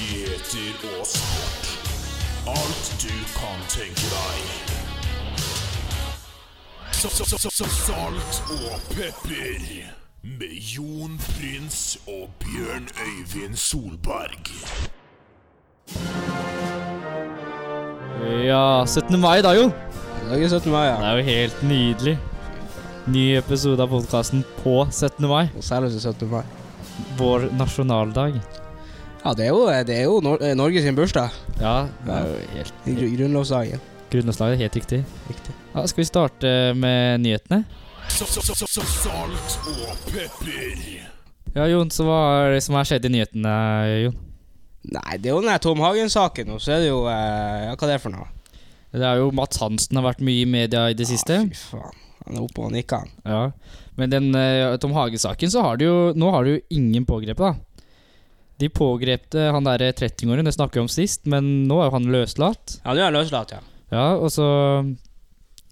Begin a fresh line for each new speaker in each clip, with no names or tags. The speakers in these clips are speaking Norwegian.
nyheter og sport. Alt du kan tenke deg. Sa- sa- sa- sa- Salt og pepper. Med Jon Prins og Bjørn Øyvind Solberg.
Ja, 17. mai da, jo.
Det er ikke 17. mai,
Det
ja.
er jo helt nydelig. Ny episode av podkasten på 17. mai,
Og Selveste 17. mai.
vår nasjonaldag.
Ja, det er jo, det er jo Nor eh, Norge sin bursdag.
Ja, det er jo helt
I gru- Grunnlovsdagen.
grunnlovslaget. Helt riktig.
Riktig.
Ja, skal vi starte med nyhetene?
Sa- sa- sa- sa- Salt og pepper.
Ja, Jon, så hva er det som har skjedd i nyhetene, Jon?
Nei, det er jo den der Tom Hagen-saken, og så er det jo eh, Ja, hva er det for noe?
Det er jo Mats Hansen har vært mye i media i det siste.
Ja, fy faen. Han er oppe og nikker, han.
Ja. Men den eh, Tom Hage-saken, så har du jo Nå har du jo ingen pågrepet, da. De pågrepte han derre 30-åringen, det snakket vi om sist, men nå er jo han løslatt.
Ja, nå er han løslatt, ja.
Ja, og så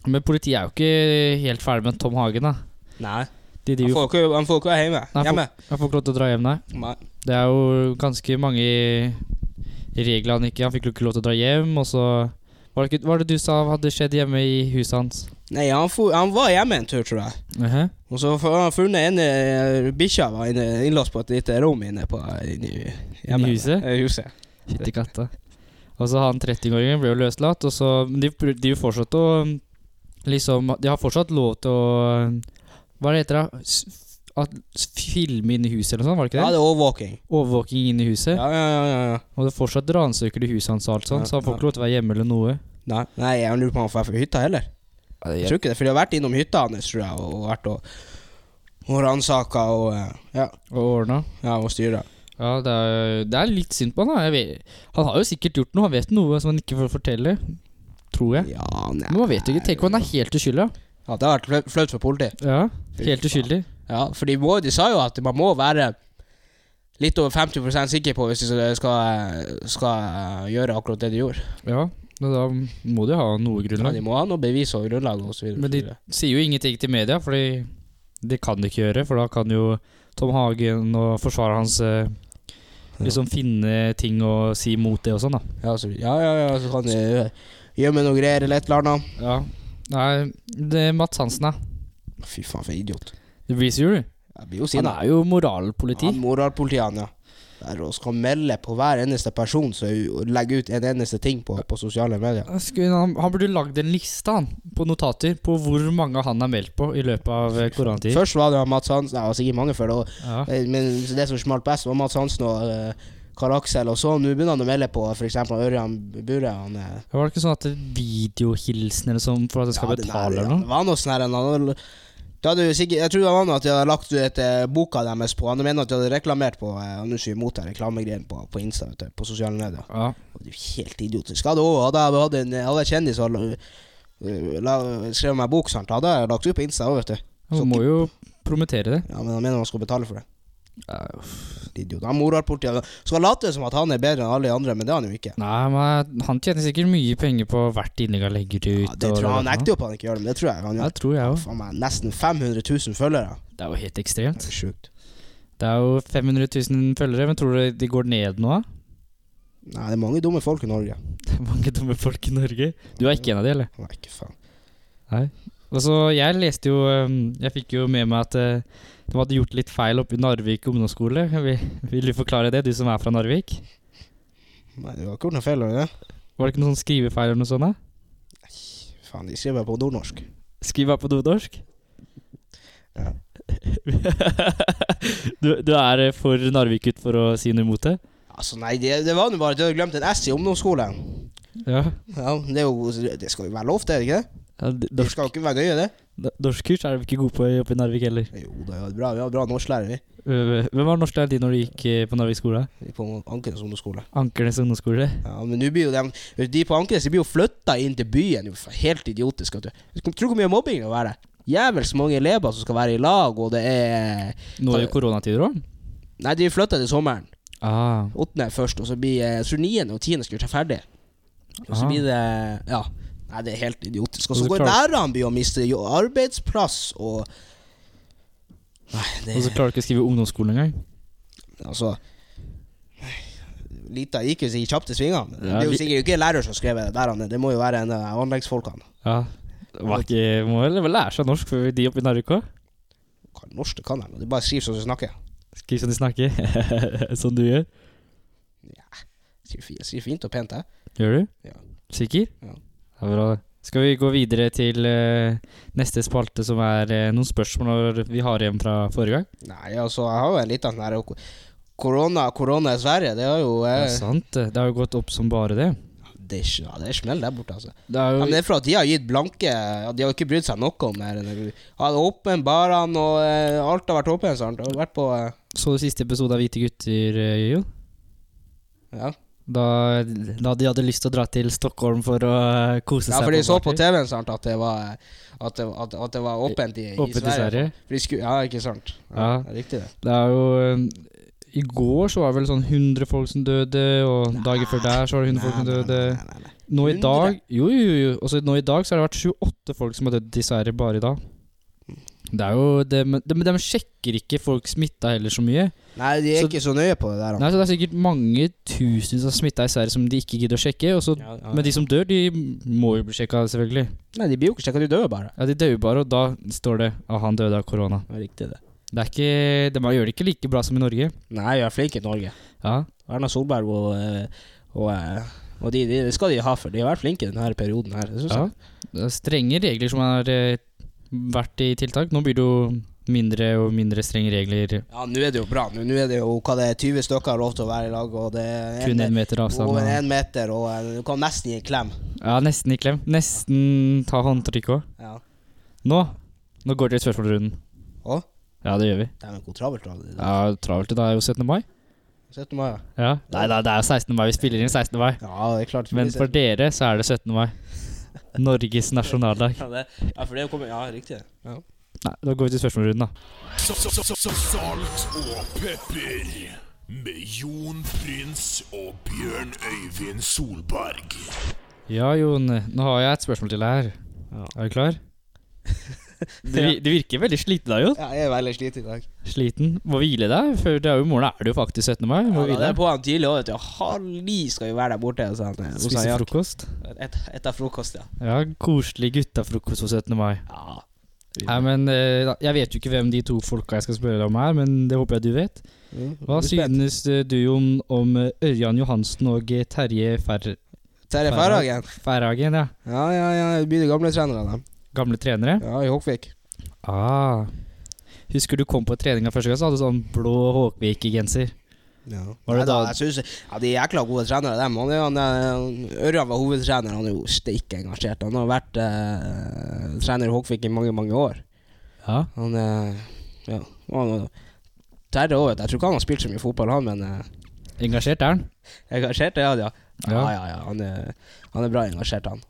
Men politiet er jo ikke helt ferdig med Tom Hagen, da.
Nei.
De
Han
driver
får jo ikke, han får jo ikke være hjemme.
Nei,
hjemme.
Han får ikke lov til å dra hjem, nei.
Nei.
Det er jo ganske mange regler han ikke Han fikk jo ikke lov til å dra hjem, og så Var det, ikke, var det du sa hadde skjedd hjemme i huset hans?
Nei, han, for, han var hjemme en tur, tror jeg. Og så har han funnet en eh, bikkja var inne, innlåst på et lite rom inne på inne, i- hjemme.
huset?
Eh, huset.
Fytti katta. Og så han 30-åringen ble jo løslatt, og så Men de, de er jo fortsatt å Liksom De har fortsatt lov til å Hva er det heter det? S- At filme inne i huset eller noe sånt, var det ikke
Ja,
det?
det er overvåking.
Overvåking inne i huset.
Ja, ja, ja, ja, ja.
Og det er fortsatt ransøker i huset hans, og alt sånt,
Ja,
så han får
ja.
ikke lov til å være hjemme eller noe.
Nei, Nei, jeg lurer på om han får være på hytta heller. Jeg tror ikke det, for de har vært innom hytta hans, tror jeg, og vært og, og ransaka og eh, ja,
Og ordna.
ja, og styra.
Ja, det er, det er litt synd på han. da. Jeg vet, han har jo sikkert gjort noe, han vet noe som han ikke får fortelle. Tror jeg.
Ja, nei.
Men man vet jo ikke. Tenk om han er helt uskyldig.
Ja, det har vært flau- flaut for politiet.
Ja, helt uskyldig.
Ja, for de, må, de sa jo at man må være litt over 50 sikker på hvis du skal, skal eh, gjøre akkurat det de gjorde.
Ja, men da må de jo ha noe
Ja,
grunnlag.
de må ha noe bevis og grunnlag og så videre.
Men de sier jo ingenting til media, fordi det kan de ikke gjøre. For da kan jo Tom Hagen og forsvareren hans eh, liksom finne ting å si mot det og sånn, da.
ja, så, ja, ja, ja, så kan de eh, gjemme noe greier eller et eller annet.
Ja. Nei, det er Mats Hansen, da.
Fy faen, for en idiot.
Det blir sur, du.
Jeg blir jo
Han
sinna.
er jo moralpoliti.
Han moralpolitiet, ja. Der og skal melde på hver eneste person som legger ut en eneste ting på, på sosiale medier.
Skulle- Han, han burde lagd en liste han, på notater på hvor mange han er meldt på i løpet av eh, koronatiden.
Først var det jo Mats Hansen, det var sikkert mange før det, og,
Ja.
eh, men det som smalt best, var Mats Hansen og eh, Karl Aksel, og så nå begynner han å melde på f.eks. Ørjan Bure. Han, eh,
Var det ikke sånn at det er videohilsen eller sånn for at jeg skal
ja, det
betale
der,
eller
Det
noe?
var noe sånn her, han hadde- det hadde jo sikkert, jeg tror det var noe at de hadde lagt ut eh, boka deres på Han mener at de hadde reklamert på eh, Han er ikke imot den reklamegreien på, på Insta, vet du, på sosiale medier.
Ja.
Det er jo helt idiotisk. Hadde, også, hadde jeg hatt en hadde jeg kjendis og la- øh, la, skrevet meg bok, sant? hadde jeg lagt ut på Insta òg, vet du.
Han må jo promotere det.
Ja, Men han mener man skal betale for det.
Ja,
Idiot. Han moralpolitiet skal late som at han er bedre enn alle de andre, men det er han jo ikke.
Nei, men eh, han tjener sikkert mye penger på hvert innlegg han legger ut.
Ja, det
og
tror jeg, Han
der.
nekter jo på at han ikke gjør det, men det tror jeg han
Ja,
gjør.
Det tror jeg òg.
Faen meg, nesten 500 000 følgere.
Det er jo helt ekstremt.
Det er sjukt.
Det er jo 500 000 følgere, men tror du de går ned nå? da?
Nei, det er mange dumme folk i Norge.
Det er mange dumme folk i Norge. Du er ikke en av de, eller?
Nei, ikke faen.
Og så Altså, Jeg leste jo øhm, Jeg fikk jo med meg at øh, de hadde gjort litt feil oppe i Narvik ungdomsskole. Vil, vil du forklare det, du som er fra Narvik?
Nei, du har ikke gjort noe feil, har du det?
Var det ikke noen sånn skrivefeil eller noe sånt? da?
Faen, de skriver på nordnorsk.
Skriv her på dodorsk.
Ja.
du, du er øh, for Narvik-gutt for å si noe imot det?
Altså, nei, det, det var nå bare at de hadde glemt en S i ungdomsskolen.
Ja.
Ja, det, er jo, det skal jo være lov til, er det ikke det?
ja d-
Det
dorsk,
skal jo ikke være gøy, det.
d- Norskkurs er de ikke gode på i- oppe i Narvik heller.
Jo, det er bra. Vi har bra norsklærer, vi.
Øh, Hvem var norsklærer din når du gikk øh, på Narvik skole?
De På Ankenes ungdomsskole.
Ankernes ungdomsskole?
Ja, men nå blir jo dem De på Ankenes de blir jo flytta inn til byen. Det er jo Helt idiotisk. Vet du. Tror du hvor mye mobbing det vil være? Jævels mange elever som skal være i lag, og det er
Nå er jo koronatider òg.
Nei, de flytter til sommeren.
Ah,
Åttende først, og så blir eh, Så niende og tiende skal gjøre seg ferdig. Og så
Aha.
blir det Ja. Nei, det er helt idiotisk. Og
Og
så
så
går
klarer-
lærerne blir å miste jo arbeidsplass og Nei, det
og så klarer du ikke å skrive ungdomsskolen engang.
Altså lita IQ i kjapt i svingene.
Ja,
det er jo
vi-
sikkert ikke lærer som har skrevet det der, Anne. det må jo være en av anleggsfolkene.
Ja. Det var ikke, må vel lære seg norsk før de oppe i Narvik òg.
Hva norsk det kan de? De bare skriver som de snakker.
Skriv som de snakker. som du gjør.
Skriver fi- skriver fint og pent, jeg.
Gjør du?
Ja.
Sikker?
Ja.
Ja, bra. Skal vi gå videre til eh, neste spalte, som er eh, noen spørsmål vi har igjen fra forrige gang?
Nei, altså, jeg har jo en liten sånn her ko- Korona, korona i Sverige, det har jo
Det
eh,
er sant. det. Det har jo gått opp som bare det.
Det er, ikke- ja, det er smell der borte, altså.
Det er
Ja,
jo
men det er for at de har gitt blanke ja, De har jo ikke brydd seg noe om det her. Ja, det er åpen, barene og eh, alt har vært åpent. Sant? Det har vært på eh,
Så du siste episode av Hvite gutter, eh, Jojo?
Ja,
Da, da de hadde lyst til å dra til Stockholm for å eh, kose
ja
seg
for de så på
party.
TV-en sant, at det var at det, at, at det var åpent i,
Åpent
i Sverige. For de skulle, ja, ikke sant.
Ja.
det er Riktig, det.
Det er jo eh, I går så var det vel sånn 100 folk som døde, og dagen før der så var det 100 folk som døde.
nei, nei, nei.
Nå i
100?
dag Jo, jo, jo. Også nå i dag så har det vært 28 folk som har dødd i Sverige bare i dag. Det er jo det, men de, de sjekker ikke folk smitta heller så mye.
Nei, de er
Så-
ikke så nøye på det der. da.
Nei, så Det er sikkert mange tusen som er smitta i Sverige som de ikke gidder å sjekke. Og så,
Ja, ja.
men de som dør, de må jo bli sjekka, selvfølgelig.
Nei, de blir jo ikke sjekka, de dør bare.
Ja, De dør jo bare, og da står det at han døde av korona.
Det er riktig, det.
Det er ikke, De gjør det ikke like bra som i Norge.
Nei, vi er flinke i Norge.
Ja,
Erna Solberg og, eh, og, eh, og de, de, det skal de ha for. De har vært flinke i denne perioden her. Det synes
ja.
jeg.
Det er strenge regler som har eh, vært i tiltak. Nå blir det jo mindre og mindre strenge regler.
Ja, nå er det jo bra. Nå nå er det jo hva det er, 20 stykker har lov til å være i lag, og det er
Kun én meter avstand.
over
Og,
en meter, og eh, du kan nesten gi en klem.
ja, nesten i klem. Nesten ta håndtrykk òg.
Ja.
Nå Nå går det i spørsmålrunden.
Å?
Ja, det gjør vi.
Det er jo travelt. da, det der.
Ja, Travelt i dag er jo 17. mai.
17. mai. ja.
Ja. Nei, nei, det er jo 16. mai. Vi spiller inn 16. mai.
Ja, det er klart.
Men for dere så er det 17. mai. Norges nasjonaldag.
ja, det, ja, for det kommer Ja, riktig. Ja.
Nei, Da går vi til spørsmålrunden, da.
Sa- sa- sa- sa- Salt og pepper med Jon Prins og Bjørn Øyvind Solberg.
Ja, Jon. Nå har jeg et spørsmål til deg her.
Ja.
Er du klar? Du, vi- du virker veldig sliten da, Jon.
jeg er veldig sliten i dag.
Sliten. Må hvile deg, for det er jo i morgen er det jo faktisk 17. mai.
Ja,
Må
da, det
hvile
er på han tidlig òg, vet du. Halv ni skal jo være der borte. sa han. eh, Hos han
Spise
Jack.
frokost.
Et, etter frokost, ja.
Ja, koselig guttafrokost på 17. mai.
ja.
Nei, men eh, da- Jeg vet jo ikke hvem de to folka jeg skal spørre deg om her, men det håper jeg du vet.
Mm,
Hva synes eh, du om, om eh, Ørjan Johansen og eh, Terje Fer
Terje Færhagen.
Færhagen? Ja.
Ja, ja, ja. Det blir de gamle trenerne, dem.
Gamle trenere?
Ja, i Håkvik.
Ah. Husker du kom på treninga første gang, så hadde du sånn blå Håkvik-genser.
Ja.
Var det
Neida,
da-
jeg synes, ja, De er jækla gode trenere, dem. Han er, han er, Ørjan var hovedtrener, han er jo steike engasjert. Han har vært eh, trener i Håkvik i mange, mange år.
Ja.
Han eh, ja, han, han- Terje òg, vet du. Jeg tror ikke han har spilt så mye fotball, han, men eh,
Engasjert er han.
engasjert er han, ja. Ja,
Ja.
ja, ja. Han er, han er bra engasjert, han.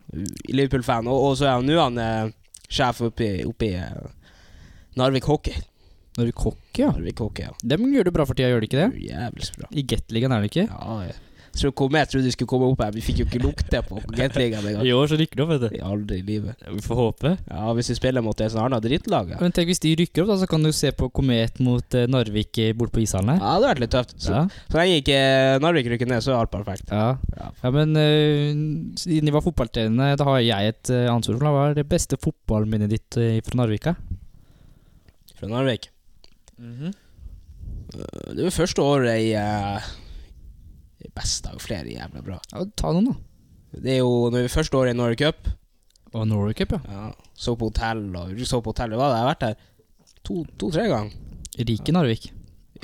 Liverpool-fan. Og, og så er han nå han eh, sjef oppe i- oppe i eh, Narvik Hockey.
Når du kokk, ja.
Narvik Hockey, ja.
Dem gjør det bra for tida, gjør de ikke det?
Jævlig bra.
I Gateligaen er det ikke?
Ja, ja. Så kom jeg trodde du skulle komme opp her, vi fikk jo ikke lukte på Gateligaen engang.
I år så rykker det opp, vet du.
Aldri i livet.
Vi får håpe.
Ja, hvis vi spiller mot et sånt annet drittlag, ja.
Men tenk hvis de rykker opp, da, så kan du se på Komet mot eh, Narvik eh, borte på ishallen her.
Ja, det hadde vært litt tøft. Så,
Ja.
så lenge ikke eh, Narvik rykker ned, så er alt perfekt.
Ja.
Ja.
ja, men eh, siden de var fotballtrenere, da har jeg et uh, ansvar for det. Hva er det beste fotballminnet ditt eh, fra Narvika?
Fra Narvik. Det var første året i uh, Det beste er jo flere jævla bra.
Ja, ta noen, da.
Det er jo når vi første året i Norway Cup.
Og Norway Cup, ja.
Ja, så på hotell og så på hotell. Hva, det har jeg vært her to-tre ganger.
Rike Narvik.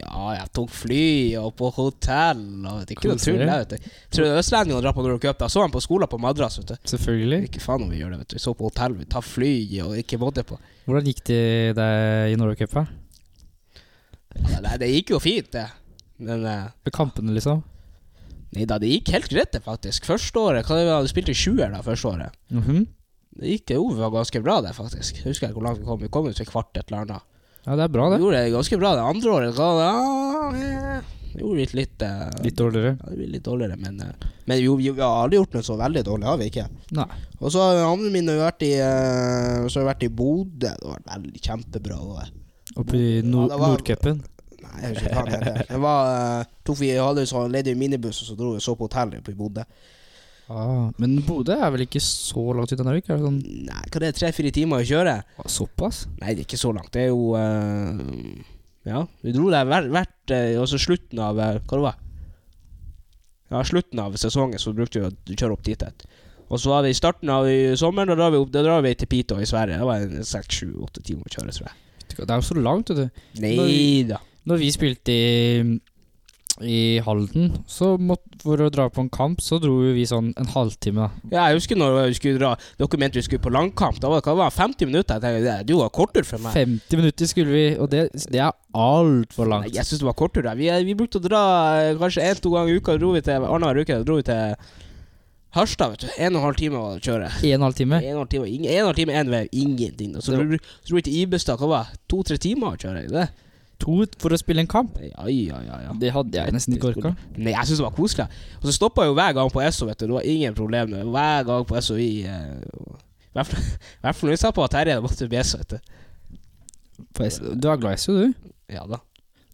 Ja, jeg tok fly og på hotell og det er ikke noe
Koselig.
tull. Jeg vet du. Tror du østlendingene drar på Norway Cup? Jeg så dem på skolen på Madras. vet du
Selvfølgelig.
Ikke faen om vi gjør det, vet du. Vi så på hotell, vi tar fly og ikke måte på.
Hvordan gikk det deg i Norway Cup? da?
Ja, det, det gikk jo fint, det. Men eh,
Med kampene, liksom?
nei da, det gikk helt greit, det, faktisk. Første året hva det var, Du spilte i sjuer da, første året.
Mhm.
Det gikk det jo det var ganske bra, det, faktisk. Jeg husker ikke hvor langt vi kom. Vi kom ut til kvart et eller annet.
Ja, det er bra,
Vi
det.
gjorde det ganske bra det andre året. hva det, ja, eh, vi gjorde litt litt eh,
Litt dårligere.
ja, det ble litt dårligere, men, eh, men vi, vi, vi har aldri gjort noe så veldig dårlig, har vi ikke?
Nei.
Og så har andre mine vært i, eh, så har vi vært i Bodø. Det var veldig kjempebra. Det var.
Oppe i nord
Ja, det var-
Nordcupen.
Nei, Nei, jeg vet ikke hva faen det heter. Det var eh, tok vi hadde en sånn ledig minibuss, og så dro vi og så på hotellet oppe i Bodø.
Ah, men Bodø er vel ikke så langt ut av Narvik? Er det sånn
Nei, hva det er tre-fire timer å kjøre?
ah, såpass?
Nei, det er ikke så langt. Det er jo eh, Ja, vi dro der hvert, hvert eh, Altså slutten av eh, Hva det var Ja, slutten av sesongen så brukte vi å kjøre opp dit. et. Og så var det i starten av i sommeren, da drar vi, opp, da drar vi til Piteå i Sverige. Det var en seks, sju, åtte timer å kjøre, tror jeg.
Vet du hva, Det er jo så langt, vet du.
Nei da.
Når vi spilte i, i Halden, så måtte, for å dra på en kamp, så dro jo vi sånn en halvtime, da.
Ja, jeg husker når vi skulle dra Dere mente vi skulle på langkamp. Da var det hva var det, 50 minutter. Jeg tenkte, det- det var kortere for meg.
50 minutter skulle vi, og det, det er altfor
Nei,
langt.
jeg syns det var kortere. da. Vi, vi brukte å dra eh, kanskje én-to ganger i uka. Dro vi til Annenhver uke dro vi til Harstad. vet du En og en halv time å kjøre.
En og en halv time.
En og en halv time ingen- en og en halv time, en vei. Ingenting. da. Så
Det
dro vi- så dro vi til Ibestad. Hva var det? to-tre timer å kjøre? ikke Det?
To for å spille en kamp.
Ja, ja, ja, ja.
Det hadde jeg nesten ikke orka.
Nei, jeg syns det var koselig. Og så stoppa jo hver gang på Esso, vet du. Det var ingen problem. det. Hver gang på Esso vi eh, I hvert fall- i hvert fall når vi satt på Terje, da måtte vi bjesse, vet du.
For jeg- Du er glad i SU, du.
Ja da.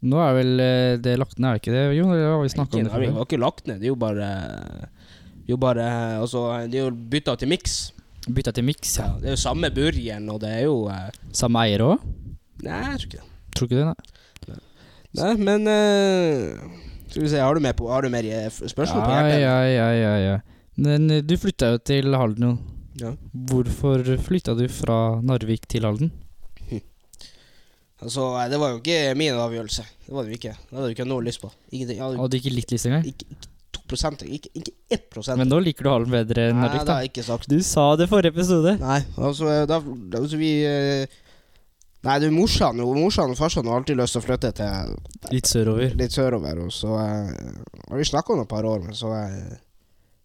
Nå er vel eh, det lagt ned, er det ikke det, Jon? Eller har vi snakka om det
Ikke- Vi
før?
har ikke lagt ned, det er jo bare det er jo bare, altså, det er jo bytta til miks.
Bytta til Mix, ja.
Det er jo samme burgeren, og det er jo eh,
Samme eier òg?
Nei, jeg tror ikke det.
Tror ikke det, nei.
Nei, men eh, Skal vi se, har du, mer på, har du mer eh, f- spørsmål på
Ja,
hjertet?
ja, ja, ja, ja. Men eh, du flytta jo til Halden, jo.
Ja.
Hvorfor flytta du fra Narvik til Halden?
Altså, eh, det var jo ikke min avgjørelse. Det var det jo ikke. Det hadde jeg ikke noe lyst på. Ingenting. Jeg hadde
Hadde du ikke litt lyst engang?
ikke, ikke 2 ikke, ikke 1
Men nå liker du Halden bedre enn
Nei,
Narvik,
det
da.
har jeg ikke sagt.
Du sa det forrige episode.
Nei, altså, eh, da, da- altså vi eh, Nei, det er morsan, morsan og farsan har alltid lyst til å flytte til
Litt sørover.
litt sørover, og så eh, har vi snakka om det et par år, men så eh,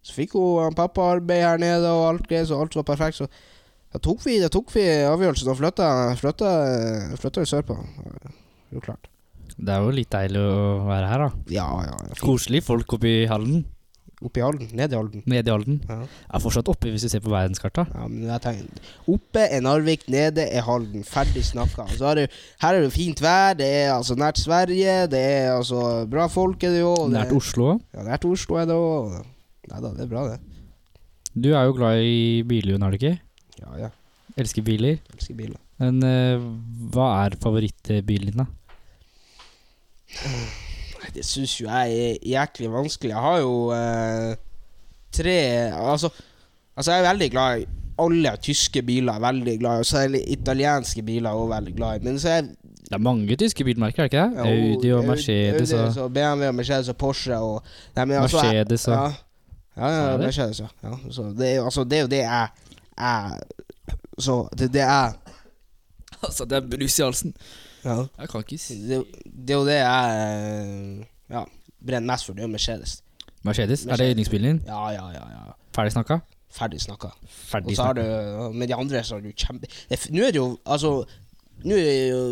Så fikk hun han pappa arbeid her nede, og alt greit, så alt var perfekt, så da tok vi, da tok vi avgjørelsen og flytta, flytta, eh, flytta vi sørpå. Eh, Jo, klart.
Det er jo litt deilig å være her, da.
Ja, ja. ja. Fint.
Koselige folk oppe i Halden.
Opp i Halden. Ned i Halden.
Nede i Halden.
Ja.
Er fortsatt oppe, hvis du ser på verdenskarta.
Ja, men jeg tenker, oppe er Narvik, nede er Halden. Ferdig snakka. Så er det, her er det fint vær, det er altså nært Sverige, det er altså bra folk er det jo. og det-
Nært Oslo òg.
Ja, nært Oslo er det òg. Nei da, det er bra, det.
Du er jo glad i biler, Jon, er du ikke?
Ja, ja.
Elsker biler.
Elsker biler.
Men eh, hva er favorittbilen din, da?
Nei, Det syns jo jeg er jæklig vanskelig. Jeg har jo eh, tre altså, altså, jeg er veldig glad i alle tyske biler. er Veldig glad i Og Særlig italienske biler er jeg også veldig glad i. Men så er jeg
Det er mange tyske bilmerker, er det ikke det? Audi og Mercedes og
Audi og BMW og Mercedes og Porsche og nei, men altså, jeg-
Mercedes og
ja. Ja, ja,
Er det?
Mercedes, ja. ja så det, er jo, altså, det er jo det jeg, jeg Så det, det jeg
Altså, det er brus i halsen.
ja.
Jeg kan ikke si
det, det er jo det jeg ja, brenner mest for. Det er jo Mercedes.
Mercedes, er det yndlingsbilen din?
Ja, ja, ja. ja.
Ferdig snakka?
Ferdig snakka. Og
Ferdig
så har
snakka.
du Med de andre så har du kjempe Det er f- Nå er det jo Altså nå er jo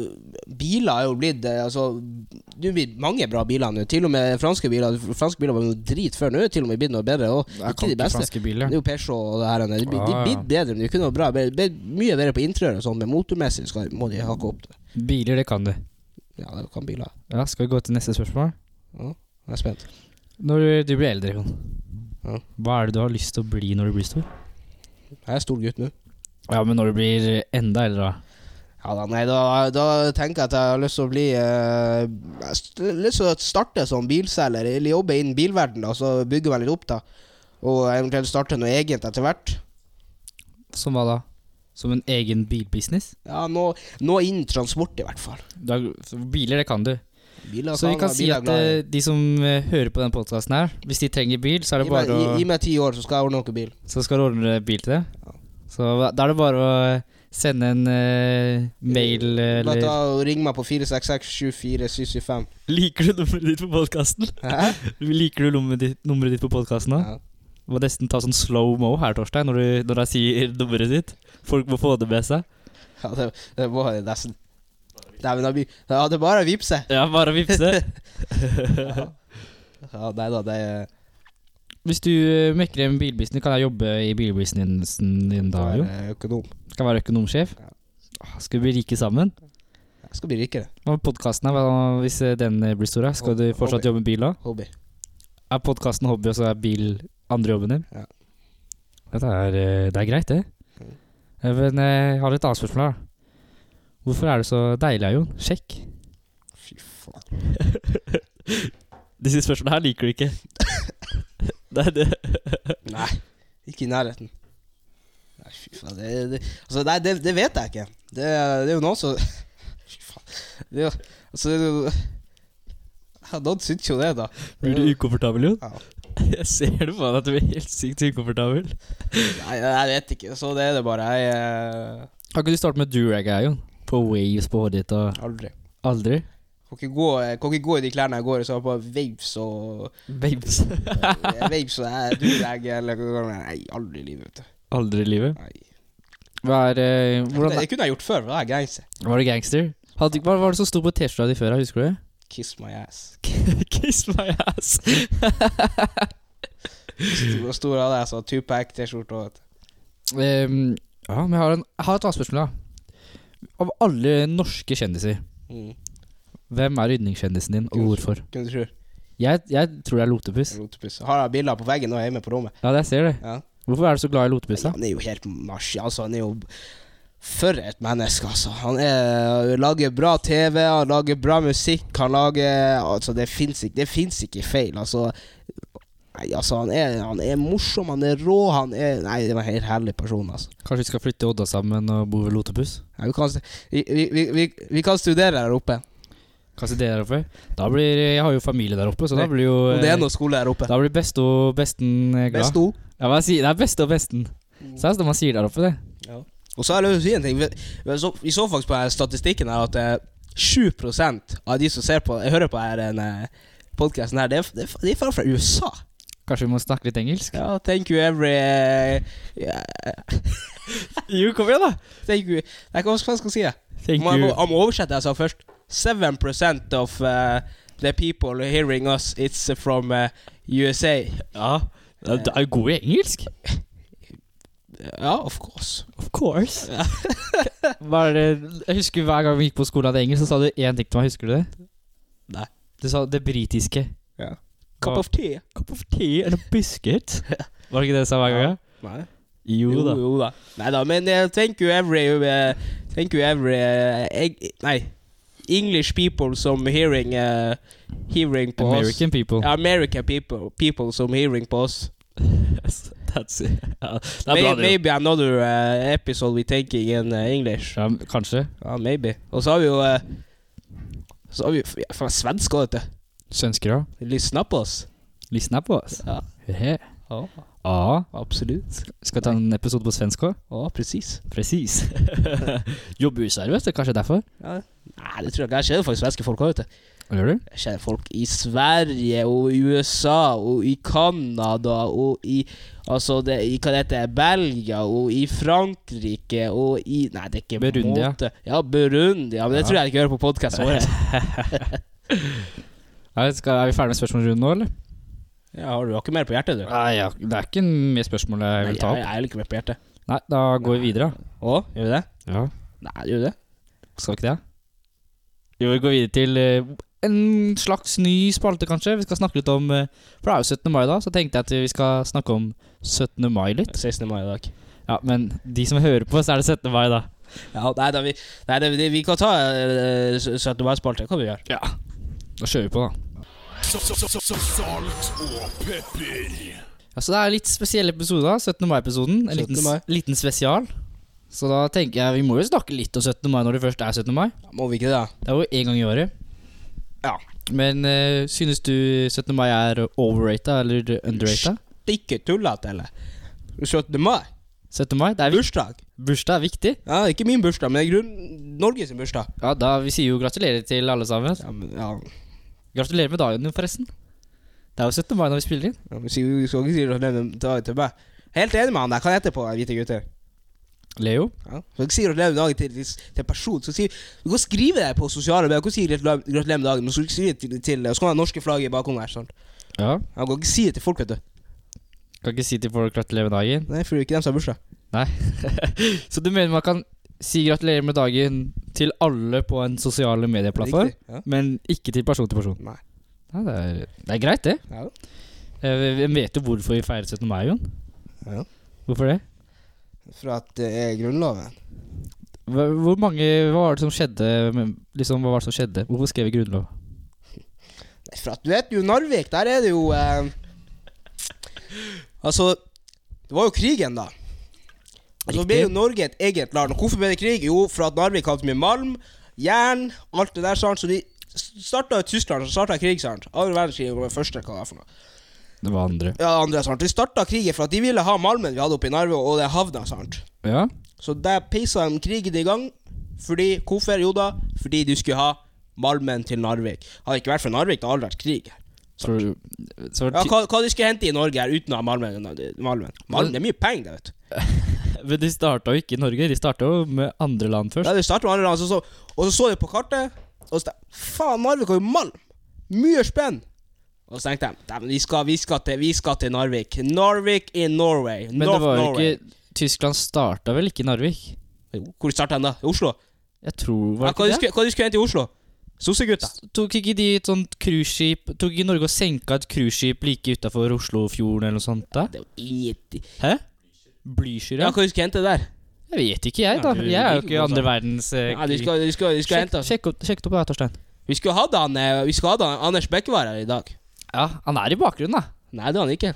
Biler er jo blitt eh, Altså Nå er det blitt mange bra biler nå. Til og med franske biler. Franske biler var jo drit før. Nå er det til og med blitt noe bedre. Og
Jeg
ikke
kan
de
ikke
beste.
franske
Det
biler.
er jo Peugeot og det her. Det er blitt- de
Ah,
er
ja.
blitt bedre, men det er ikke noe bra. Be- be- Mye bedre på interiør og sånn, men motormessig skal, må de hakke opp det.
Biler, det kan du.
Ja, det kan biler.
Ja, Skal vi gå til neste spørsmål?
Ja, jeg er spent.
Når du blir eldre, Jon,
Ja.
hva er det du har lyst til å bli når du blir stor?
Jeg er stor gutt nå.
Ja, men når du blir enda eldre, da?
Ja da, nei, da, da tenker jeg at jeg har lyst til å bli eh, jeg har st- Lyst til å starte som bilselger, eller jobbe innen bilverden, da, så bygge meg litt opp, da. Og eventuelt starte noe eget etter hvert.
Som hva da? Som en egen bilbusiness?
Ja, nå, nå innen transport, i hvert fall.
Da, biler, det kan du.
Biler
Så vi kan
jeg-
si
biler
at
er glad i.
eh, de som eh, hører på den podkasten her, hvis de trenger bil, så er det
Gi
bare
meg- gi-
å
Gi meg ti år, så skal jeg ordne noe bil.
Så skal du ordne bil til det? Så da er det bare å sende en eh, mail eh,
Bare
eller
ta og Ring meg på 466 74775.
Liker du nummeret ditt på podkasten?
Hæ?
Liker du nummeret ditt, nummeret ditt på podkasten òg?
Ja.
Må nesten ta sånn slow mo her, Torstein, når, du, når jeg sier nummeret ditt. Folk må få det med seg.
Ja, det, det var det nesten. Nei, men da blir Ja, det er bare å vippse.
Ja, bare å vippse.
Ja, nei da, det er
Hvis du eh, mekker en bilbusiness, kan jeg jobbe i bilbusinessen din da, jo?
jeg er økonom.
Skal jeg være økonomsjef?
Ja.
Ah, Skal vi bli rike sammen?
Ja. Jeg skal bli rikere.
Hva med podkasten, her? Hva- hvis den eh, blir stor? her? Skal du fortsatt
Hobby.
jobbe med bil da?
Hobby.
Er podkasten hobby, og så er bil andre jobben din?
Ja.
Dette er, eh, det er greit, det.
Mm.
Eh, Men eh, jeg har et annet spørsmål. da Hvorfor er du så deilig, Jon? Sjekk.
Fy faen.
Disse spørsmålene her liker du ikke. det er det.
Nei, ikke i nærheten. Nei, fy faen. Det, det, altså, nei, det, det vet jeg ikke. Det, det er jo noen som Fy faen. Det, er jo- altså, det, er jo- ja, noen syns jo det, da.
Blir du ukomfortabel, Jon?
Ja.
Jeg ser det på deg at du blir helt sykt ukomfortabel.
Nei, jeg vet ikke. Så det er det bare. Jeg eh,
Har ikke du startet med durag, her, Jon? På waves på hodet ditt og
aldri.
Aldri?
Kan ikke, gå, jeg kan ikke gå i de klærne jeg går i, så har jeg på waves og
Babes.
eh, Waves og eh, durag eller hva det er. Nei, aldri i livet. vet du.
Aldri i livet.
Nei.
Hva er eh, Hvordan
Det, det kunne jeg gjort før, for da er jeg gangster.
Var det gangster? Hadde, hva var det som sto på T-skjorta di før? da, Husker du det?
Kiss my ass.
Kiss my ass.
Stor, stor av det, så Tupac-T-skjorte og et
Ehm, ja, men jeg har, en, jeg har et annet spørsmål, da. Av alle norske kjendiser,
mm.
hvem er yndlingskjendisen din, og hvorfor?
Kunne du tro.
Jeg, jeg tror det er Lotepus.
Rotepuss. Har jeg bilder på veggen nå hjemme på rommet?
Ja, jeg ser det.
Ja.
Hvorfor er du så glad i Lotepus, da?
Han er jo helt maskin. Altså, han er jo For et menneske, altså. Han er, lager bra TV, han lager bra musikk, han lager Altså, det fins ikke, det finnes ikke feil, altså. Nei, altså, han er, han er morsom, han er rå, han er Nei, det var en helt herlig person, altså.
Kanskje vi skal flytte til Odda sammen og bo ved Lotepus?
Nei, vi, kan, vi, vi, vi, vi, vi kan studere her oppe.
Kanskje det der oppe? Da blir, jeg har jo familie der oppe, så da blir jo
Om det
eh,
er noe skole her oppe.
Da blir beste og besten eh, glad.
Besto.
Ja, hva jeg sier, det er beste og besten. Så det er det man sier der oppe, det.
Og så har jeg lyst til å si en ting. Vi- Vi så, vi så faktisk på denne statistikken her at eh, 7 av de som ser på, hører på denne podkasten her, det er, det er, de er fra- fra USA.
Kanskje vi må snakke litt engelsk?
Ja, thank you every eh, yeah,
Jo, kom igjen, da.
Thank you Nei, hva skal hva skal jeg si? jeg?
Thank
Må jeg
you.
må- jeg må oversette det jeg sa først. 7 of eh, the people hearing us, it's from eh, USA.
Ja, det er- det er god i engelsk.
Ja, of course.
Of course. Hva er det Jeg husker hver gang vi gikk på skolen hadde engelsk, så sa du én ting til meg. Husker du det?
Nei.
Du sa det britiske.
Ja. Cup of tea.
Cup of tea and a biscuit. Var det ikke det du sa hver gang? Ja?
Nei.
Jo da.
Jo da. Nei da, men eh, thank you every eh, Thank you every eh, eg, Nei. English people som hearing eh, Hearing på oss.
American people.
Ja, American people, people som hearing på oss.
Yes, that's it. Ja, det er
May,
bra, det.
maybe another eh, episode we taking in eh, English.
Ja, kanskje.
Ja, maybe. Og så har vi jo eh, Så har vi jo ja, faen, svensk òg, vet du.
Svensker òg.
Lysna på oss.
Lysna på oss.
Ja,
Hehe.
ja
Ja.
absolutt.
Skal vi ta en episode på svensk òg?
Ja, presis.
Presis. Jobber i service, det er kanskje derfor?
Ja. Nei, det tror jeg ikke. Jeg kjenner faktisk svenske folk òg, vet du.
Hva gjør du?
Jeg kjenner folk i Sverige og i USA og i Canada og i Altså, det, i hva det heter Belgia og i Frankrike og i Nei, det er ikke
Burundi, ja.
måte. Ja, Burundi. Ja, men det
Ja.
tror jeg ikke hører på podkasten vår.
Nei, skal, er vi ferdig med spørsmålsrunden nå, eller?
Ja, har du har ikke mer på hjertet, du?
Nei, ja, det er ikke mer spørsmål jeg vil ta
Nei,
opp.
jeg er ikke mer på hjertet.
Nei, da går vi videre. da.
Å, gjør vi det?
Ja.
Nei, gjør vi det?
Skal vi ikke det? Jo, vi går videre til eh, en slags ny spalte, kanskje. Vi skal snakke litt om eh, For det er jo 17. mai da, så tenkte jeg at vi skal snakke om 17. mai litt.
16. mai i dag.
Ja, men de som hører på, så er det 17. mai, da.
Ja, nei da, vi, nei, det, vi- vi kan ta eh, 17. mai-spalte. Hva vi gjør
Ja. Da kjører vi på, da.
Salt og pepper.
Ja, så det er litt spesiell episode da, 17. mai-episoden. En liten,
17. mai.
liten spesial. Så da tenker jeg vi må jo snakke litt om 17. mai når det først er 17. mai.
Ja, Må vi ikke det?
Det er jo én gang i året.
Ja.
Men eh, synes du 17. mai er overrata eller underrata?
Det er ikke tullete, eller? 17. mai?
17. mai? Det er vik-
Bursdag?
bursdag er viktig.
Ja, ikke min bursdag, men grunn... Norge sin bursdag.
Ja, da Vi sier jo gratulerer til alle sammen.
Ja, men, ja.
Gratulerer med dagen din, forresten. Det er jo 17. mai når vi spiller inn.
ja men, si- du skal ikke si gratulerer med dagen til meg. Helt enig med han der. Hva heter det på hvite gutter?
Leo.
Ja. Du skal ikke si gratulerer med dagen til, til, til en person. Du, skal si, du kan skrive det på sosiale medier. Du kan si gratulerer gratulerer med dagen, men du skal ikke skrive det til, til Og så kan du ha norske flagget i bakgrunnen her. Sånn.
Ja.
Ja, du kan ikke si det til folk, vet du.
Kan ikke si til folk gratulerer med dagen.
Nei, for det er ikke dem som har bursdag.
Så du mener man kan si gratulerer med dagen til alle på en sosiale medieplattform,
Riktig. Ja.
men ikke til person til person.
Nei.
Ja, det, er, det er greit, det.
Ja.
Eh, vi- vi vet jo hvorfor vi feirer 17. mai, Jon.
Ja.
Hvorfor det?
For at det er Grunnloven.
Hva, hvor mange, hva var det som skjedde? med- Liksom, hva var det som skjedde? Hvorfor skrev vi grunnlov?
Nei, for at du vet jo Narvik, der er det jo eh, Altså, det var jo krigen, da. Og så ble
Riktig.
jo Norge et eget land. Og hvorfor ble det krig? Jo, for at Narvik hadde så mye malm, jern, alt det der, sant. Så de starta jo Tyskland, så starta krig, sant. Andre verdenskrig var det første, hva det var for noe.
Det var andre.
Ja, andre, sant. De starta krigen for at de ville ha malmen vi hadde oppe i Narvik, og det havna, sant.
Ja.
Så der peisa de krigen i gang. Fordi, hvorfor? Jo da, fordi du skulle ha malmen til Narvik. Hadde det ikke vært for Narvik, det hadde aldri vært krig.
Så, så var
Ja,
det
hva, hva de skulle hente i Norge her uten å ha malmen? Malmen, malmen det er mye penger, det, vet du.
ty- Men de starta jo ikke i Norge, de starta jo med andre land først.
Ja, de startet med andre land, så så, og så så de på kartet, og så tenkte de, Faen, Narvik har jo malm! Mye spenn! Og så tenkte de "Dæven, vi skal, vi, skal til, vi skal til Narvik. Narvik in Norway.
Men
North
det var jo
Norway.
ikke Tyskland starta vel ikke i Narvik?
Jo, Hvor starta de da? I Oslo?
Jeg tror
Ja,
Var
hva,
det
de
ikke det?
skulle, hva de skulle hente i Oslo? Sossegutter.
Tok ikke de et sånt cruiseskip Tok ikke Norge og senka et cruiseskip like utafor Oslofjorden eller noe sånt? da?
Det er jo ingenting
Hæ? Blyskyr,
Ja,
ja?
hva de skulle hente der?
Jeg vet ikke, jeg,
Ja,
da.
du-
Jeg er jo
du-
ikke i andre verdens eh,
Ja,
krig.
de skal, de skal, de skal
Sjekk
hente oss.
sjekk opp sjekk det opp det her, Torstein.
Vi skulle hatt han, eh, vi skulle hatt han Anders Bekkevær her i dag.
Ja, han er i bakgrunnen, da.
Nei, det er han ikke.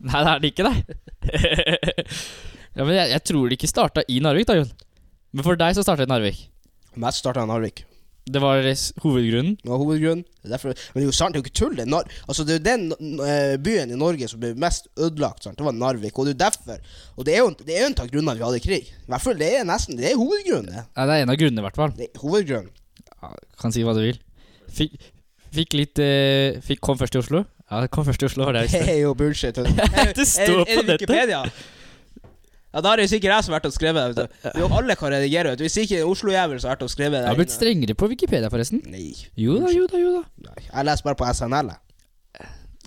Nei, det er det ikke, nei. ja, men jeg, jeg tror det ikke starta i Narvik, da, Jon. Men for deg så starta det i Narvik.
Mest starta han Narvik.
Det var deres hovedgrunnen.
Det var hovedgrunnen. Det er derfor, men det er jo sant, det er jo ikke tull. Det er, Nar altså, det er jo den eh, byen i Norge som ble mest ødelagt. Sant? Det var Narvik. Og det er jo derfor. Og det er jo det er jo en av grunnene vi hadde krig. I hvert fall det er nesten Det er hovedgrunnen. Det,
Nei, det er en av grunnene, i hvert fall.
det er hovedgrunnen.
Ja, kan si hva du vil. Fikk, fikk litt eh, fikk, Kom først i Oslo. Ja, kom først i Oslo, var det
Det
jeg visste.
er jo bullshit. Det
Det står på nettet.
Wikipedia? Ja, Da har det sikkert jeg som har vært og skrevet det. vet du. Det er jo alle kan redigere. vet du. Hvis ikke en Oslo-jævel som har vært og skrevet
Jeg
det.
har blitt strengere på Wikipedia, forresten.
Nei.
Jo da, jo da, jo da.
Nei. Jeg leser bare på SNL. jeg.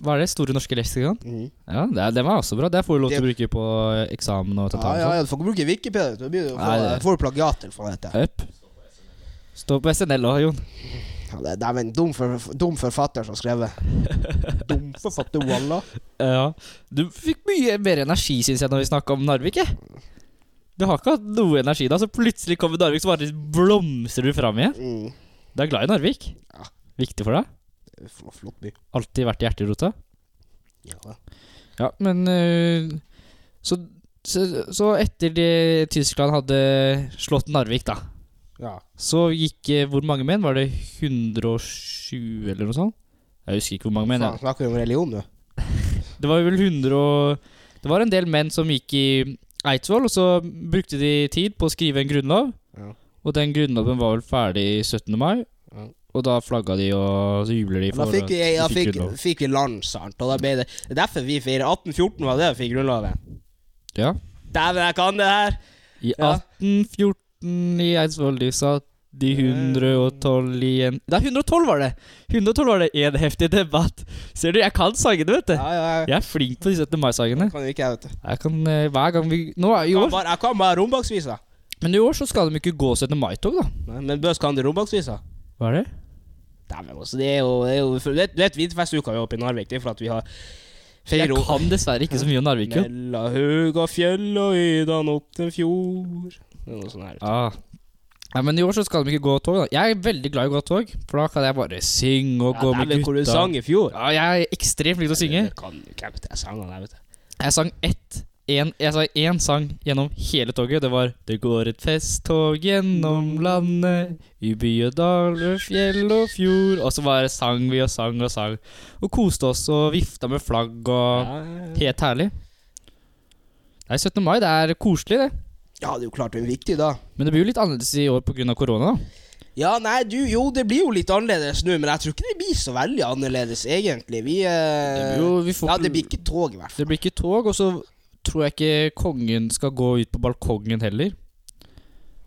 Hva er det? Store norske leksikon?
Mhm.
Ja, det er, den var også bra. Det får du lov til å bruke på eh, eksamen og
Ja,
tentamen.
ja,
og
ja, du får ikke bruke Wikipedia. vet Du Da blir det jo
Nei,
for-
det-
får du plagiat til for dette.
sånn. Up. Stå på SNL òg, Jon.
Ja, det, det er en dum, for, dum forfatter som har skrevet. dum forfatter, wallah.
Ja. Du fikk mye mer energi, syns jeg, når vi snakka om Narvik. Jeg. Du har ikke hatt noe energi da, så plutselig kommer Narvik, så bare blomstrer du fram igjen.
Mm.
Du er glad i Narvik?
Ja.
Viktig for deg?
det er fl- Flott by.
Alltid vært i hjerterota?
Ja.
Ja, men øh, så, så, så etter det Tyskland hadde slått Narvik, da,
ja.
så gikk eh, Hvor mange menn? Var det 120 eller noe sånt? Jeg husker ikke hvor mange menn.
Faen,
jeg-
snakker vi om religion nå?
Det var vel 100 og Det var en del menn som gikk i Eidsvoll, og så brukte de tid på å skrive en grunnlov.
Ja.
Og den grunnloven var vel ferdig 17. mai,
Ja.
og da flagga de, og så jubler de.
Da
for
fikk vi,
at
da
de
fikk,
grunnlov.
fikk vi land, sant. Og da ble det, det er derfor vi feirer 1814, var det vi fikk Grunnloven.
Ja.
Dæven, jeg kan det her!
I
Ja.
1814 i Eidsvoll, de satt de 112 igjen Nei, 112 var det! 112 var det en heftig debatt. Ser du, jeg kan sangene, vet du.
Ja, ja, ja.
Jeg er flink på de 17. mai-sangene.
Kan jo ikke jeg, vet du.
Jeg kan eh, hver gang vi Nå er i
Jeg kan
år
bare, jeg kan bare rombaksvisa.
Men i år så skal de ikke gå 17. mai-tog, da.
Nei, Men Bøs kan det rombaksvisa.
Hva er det?
Dæven, altså. Det er jo, det er jo for, Vet, vet Hvitfestuka vi er oppe i Narvik? Det er for at vi har
Jeg
feirer
kan dessverre ikke så mye om Narvik. jo.
Mella høg og fjell og ydan opp til fjord Det er noe sånn her.
Ah. Ja, men i år så skal de ikke gå tog. da Jeg er veldig glad i å gå tog, for da kan jeg bare synge og gå
Ja,
med
dæven, hvor du
gutta.
sang i fjor.
Ja, jeg er ekstremt flink til å synge.
Det kan jo ikke, vet du. Jeg sang den, jeg, vet du.
Jeg sang ett en, Jeg sang én sang gjennom hele toget. Det var Det går et festtog gjennom landet, i by og dal og fjell og fjord. Og så bare sang vi og sang og sang. Og koste oss og vifta med flagg og
Ja,
Helt herlig. Nei, 17. mai, det er koselig, det.
Ja, det er jo klart det er viktig, da.
Men det blir jo litt annerledes i år pga. korona. da.
Ja, nei, du, jo, det blir jo litt annerledes nå, men jeg tror ikke det blir så veldig annerledes, egentlig. Vi
Det blir
eh,
jo- vi får-
Ja, det blir ikke tog, i hvert
Det
fall.
blir ikke tog, og så tror jeg ikke kongen skal gå ut på balkongen heller.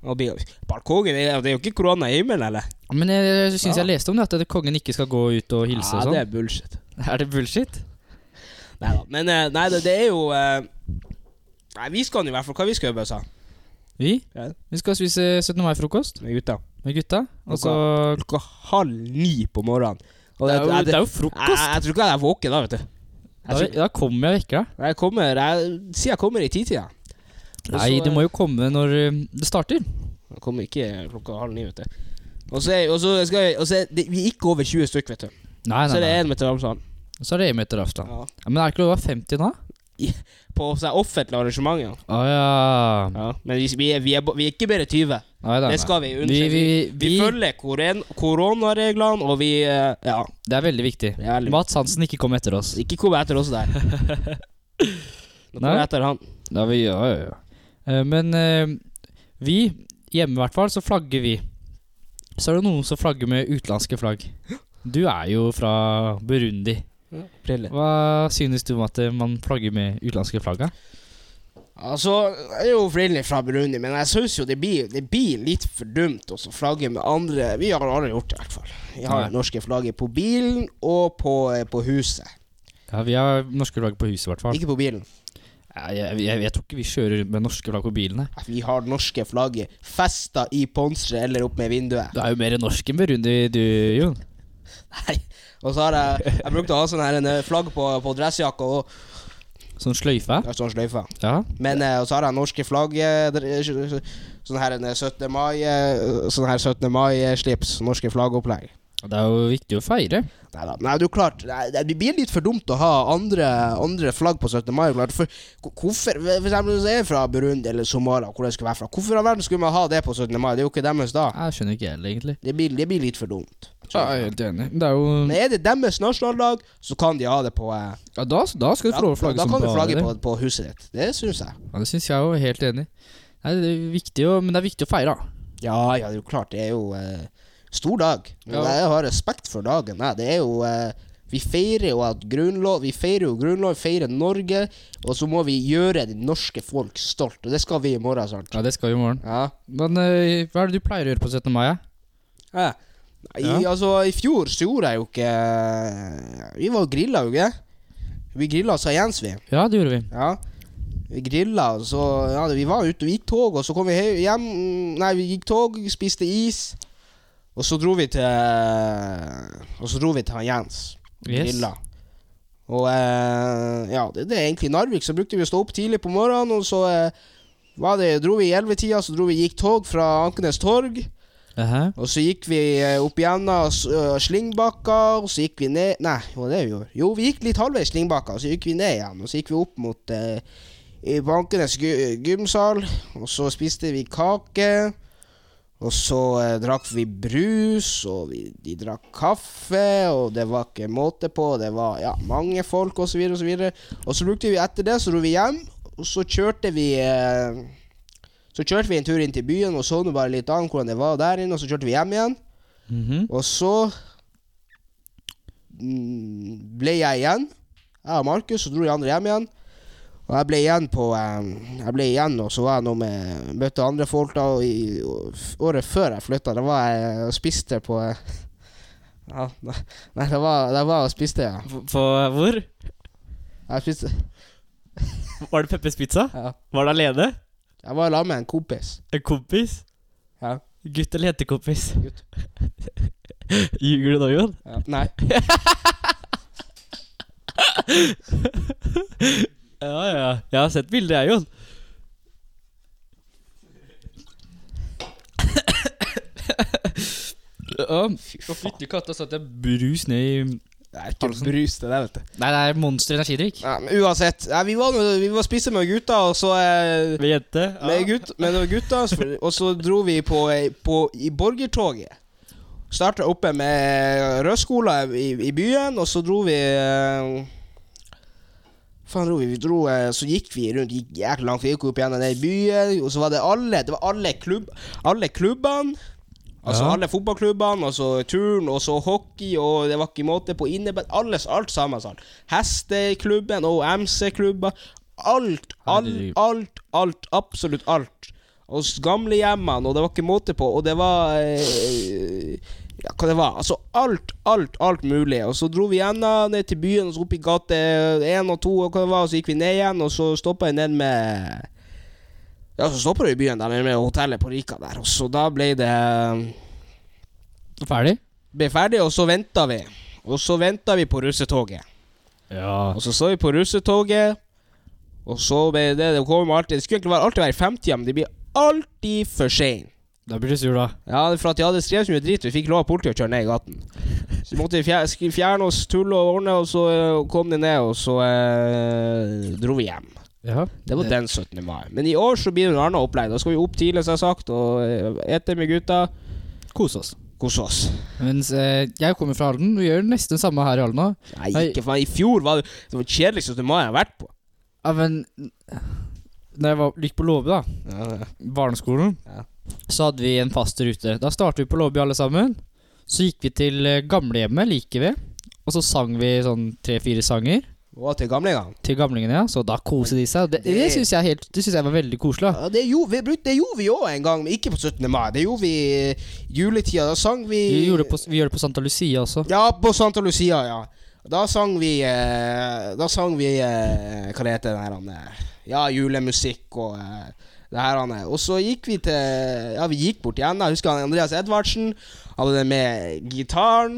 Og blir- Balkongen, det er det er jo ikke korona i himmelen, eller?
Men jeg syns
Ja.
jeg leste om det, at kongen ikke skal gå ut og hilse og
ja,
sånn.
det er bullshit.
Er det bullshit?
Nei da. Men eh, nei, det, det er jo eh, Nei, vi skal nå i hvert fall Hva vi skal gjøre, Bøsa?
Vi?
Ja.
Vi skal spise 17. mai-frokost
med gutta.
med gutta. Og så
Klokka halv ni på morgenen. Og
det er, jo,
jeg-
det er jo
jeg,
frokost!
jeg tror ikke jeg er våken da, vet du.
Da,
Ah, Jeg,
da kommer jeg og vekker deg.
tror, jeg kommer Jeg sier jeg kommer i titida. Og
Nei,
så-
du må jo komme når eh, det starter.
Jeg kommer ikke klokka halv ni, vet du. Og så er, og så skal jeg, og så er det, vi er ikke over 20 stykk, vet du.
Nei,
Så
nei, nei.
er det én meter avstand.
Så er det hjemme etter avstand.
Ja.
Ja, men er det ikke lov å være 50 nå?
På så er offentlige arrangementer.
Å ja. Ah,
Ja. Men vi, vi, er, vi, er, bo- vi er ikke bare 20.
Nei, nei,
Det
nei.
skal vi unnskyld.
Vi, vi,
vi,
vi,
følger koren, koronareglene, og vi eh, Ja.
det er veldig viktig.
Det er veldig-
Mats Hansen ikke kom etter oss.
Ikke kom etter oss der. Nå kommer
Nei.
jeg etter han.
Ja, vi, ja, ja, ja. Eh, Men eh, vi, hjemme i hvert fall, så flagger vi. Så er det noen som flagger med utenlandske flagg. Du er jo fra Burundi.
Briller.
Hva synes du om at eh, man flagger med utenlandske flagg? da?
Altså, jeg er jo opprinnelig fra Burundi, men jeg syns jo det blir, det blir litt for dumt å så flagge med andre Vi har aldri gjort det, i hvert fall. Vi har
Nei.
det norske flagget på bilen og på, eh, på huset.
Ja, vi har norske flagg på huset, i hvert fall.
Ikke på bilen.
Ja, Jeg, jeg, jeg tror ikke vi kjører rundt med norske flagg på bilene.
Vi har det norske flagget festa i ponseret eller opp med vinduet.
Du er jo mer norsk enn Burundi, du, Jon.
Nei. Og så har jeg Jeg brukte å ha sånn her en eh, flagg på, på dressjakka og
Sånn sløyfe.
og sånn sløyfe.
Ja.
Men eh, og så har jeg norske flagg eh, dr- eh, Sånn her en eh, 17. mai eh, Sånn her 17. mai-slips. Norske flaggopplegg.
Det er jo viktig å feire.
Neida. Nei, det er jo klart Nei, det det blir litt for dumt å ha andre, andre flagg på 17. mai. Klart. For, hvor- hvorfor For eksempel hvis jeg er fra Burundi eller Somalia, hvor jeg skulle være fra Hvorfor i all verden skulle man ha det på 17. mai? Det er jo ikke deres da.
Jeg skjønner ikke heller, egentlig.
Det blir, det blir litt for dumt.
Ja, jeg er helt enig. Det er jo
Men er det deres nasjonaldag, så kan de ha det på eh,
Ja, da, da skal du
Da,
få lov å flagge
da
som
kan du
bare
flagge
det.
på, på huset ditt. Det syns jeg.
Ja, det syns jeg òg. Helt enig. Nei, det er viktig å, men det er viktig å feire, da.
Ja, ja, det er jo klart. Det er jo eh, stor dag. Men
Ja.
jeg har respekt for dagen. Jeg. Det er jo eh, Vi feirer jo at grunnlov Vi feirer jo grunnlov, feirer Norge, og så må vi gjøre det norske folk stolt. Og det skal vi i morgen, sant?
Ja, det skal vi i morgen.
Ja.
Men eh, hva er det du pleier å gjøre på 17. mai? ja?
ja. I,
Ja.
Altså, i fjor så gjorde jeg jo ikke eh, Vi var og grilla, jo ikke? Vi grilla sa Jens, vi.
Ja, det gjorde vi.
Ja. Vi grilla, og så ja, Vi var ute, vi gikk tog, og så kom vi he- hjem Nei, vi gikk tog, spiste is. Og så dro vi til Og så dro vi til han Jens. og
Yes.
Grilla. Og eh, ja, det, det er egentlig Narvik. Så brukte vi å stå opp tidlig på morgenen, og så eh, var det, dro vi i ellevetida, så dro vi gikk tog fra Ankenes torg.
Aha.
Og så gikk vi eh, opp gjennom s- øh, Slingbakka, og så gikk vi ned Nei, hva var det vi gjorde? Jo, vi gikk litt halvveis Slingbakka, og så gikk vi ned igjen. Og så gikk vi opp mot eh, i Bankenes gy gymsal, og så spiste vi kake. Og så eh, drakk vi brus, og vi, de drakk kaffe, og det var ikke måte på. og Det var ja, mange folk, og så videre, og så videre. Og så brukte vi etter det, så dro vi hjem, og så kjørte vi eh, så kjørte vi en tur inn til byen og så nå bare litt an hvordan det var der inne, og så kjørte vi hjem igjen.
Mhm.
Og så mm, ble jeg igjen. Jeg og Markus, så dro de andre hjem igjen. Og jeg ble igjen på eh, Jeg ble igjen, og så var jeg nå med Møtte andre folk da og i, og f- året før jeg flytta. Da var jeg og spiste på eh, ja, Nei, da var, da var jeg og spiste, ja.
På, på- hvor?
Jeg spiste
Var det Peppers Pizza?
ja.
Var det alene?
Jeg var sammen med en kompis.
En kompis?
Ja.
Gutt eller jentekompis?
Gutt.
Ljuger du nå, Jon?
Ja. Nei.
Ja, ja. Jeg har sett bildet, jeg, Jon. Ja, Å, fytti katta, satt jeg brus ned i
Det er ikke brus, det der, vet du.
Nei, det er Monster energidrikk.
Ja, men uansett, ja, vi, var, nå- vi var spiste med gutta, og så eh,
Med jente.
med, gutt, med noen gutta, så- og så dro vi på, eh, på i borgertoget. Starta oppe med rødskola i, i byen, og så dro vi eh, Faen dro vi, vi dro, eh, Så gikk vi rundt gikk jækla langt, vi gikk opp gjennom den byen, og så var det alle Det var alle, klubb, alle klubbene. Altså
Ja.
alle fotballklubbene, og så turn, og så hockey, og det var ikke måte på innebandy. Alles, alt sammen. Sånn. Hesteklubben og MC-klubber. Alt, alt,
Herregud.
alt, alt. Absolutt alt. Og s- gamlehjemmene, og det var ikke måte på, og det var eh, Ja, hva det var? Altså alt, alt, alt mulig. Og så dro vi gjennom ned til byen, og så opp i gate én og to, og hva det var, og så gikk vi ned igjen, og så stoppa vi ned med Ja, så stopper du i byen der med hotellet på Rika der, og så da ble det
Ferdig?
Ble ferdig, og så venta vi. Og så venta vi på russetoget.
Ja.
Og så så vi på russetoget, og så ble det Det kom alltid Det skulle egentlig være, alltid være i femtida, men de blir alltid for sein
Da blir du sur, da.
Ja, for at de hadde skrevet så mye drit, vi fikk lov av politiet å kjøre ned i gaten. Så vi måtte vi fjer- sk- fjerne oss, tulle og ordne, og så eh, kom de ned, og så eh, dro vi hjem.
Ja.
Det var den 17. mai. Men i år så blir det noe annet opplegg. Da skal vi opp tidlig, som jeg har sagt, og eh, ete med gutta.
Kos oss.
Kose oss.
Mens eh, jeg kommer fra Halden, vi gjør nesten det samme her i Halden òg.
Nei,
Nei.
ikke faen. I fjor var det det var kjedeligste 17. mai jeg har vært på.
Ja, men Når jeg var, gikk på Låbe, da, barneskolen,
Ja.
så hadde vi en fast rute. Da startet vi på Låbe alle sammen. Så gikk vi til eh, gamlehjemmet like ved, og så sang vi sånn tre-fire sanger
Og til gamlingene.
til gamlingene, ja. Så da koste de seg. og Det,
Det-
det syns jeg, helt- det synes jeg var veldig koselig. da.
Ja, det gjorde vi brukte- det gjorde vi òg en gang, men ikke på 17. mai. Det gjorde vi i juletida. Da sang vi
Vi gjorde det på, vi gjør det på Santa Lucia også.
Ja, på Santa Lucia, ja. Da sang vi eh, Da sang vi eh, Hva det heter det her han eh, Ja, julemusikk og eh, det her han eh. Og så gikk vi til Ja, vi gikk bort igjen. Jeg husker han Andreas Edvardsen. Hadde det med gitaren.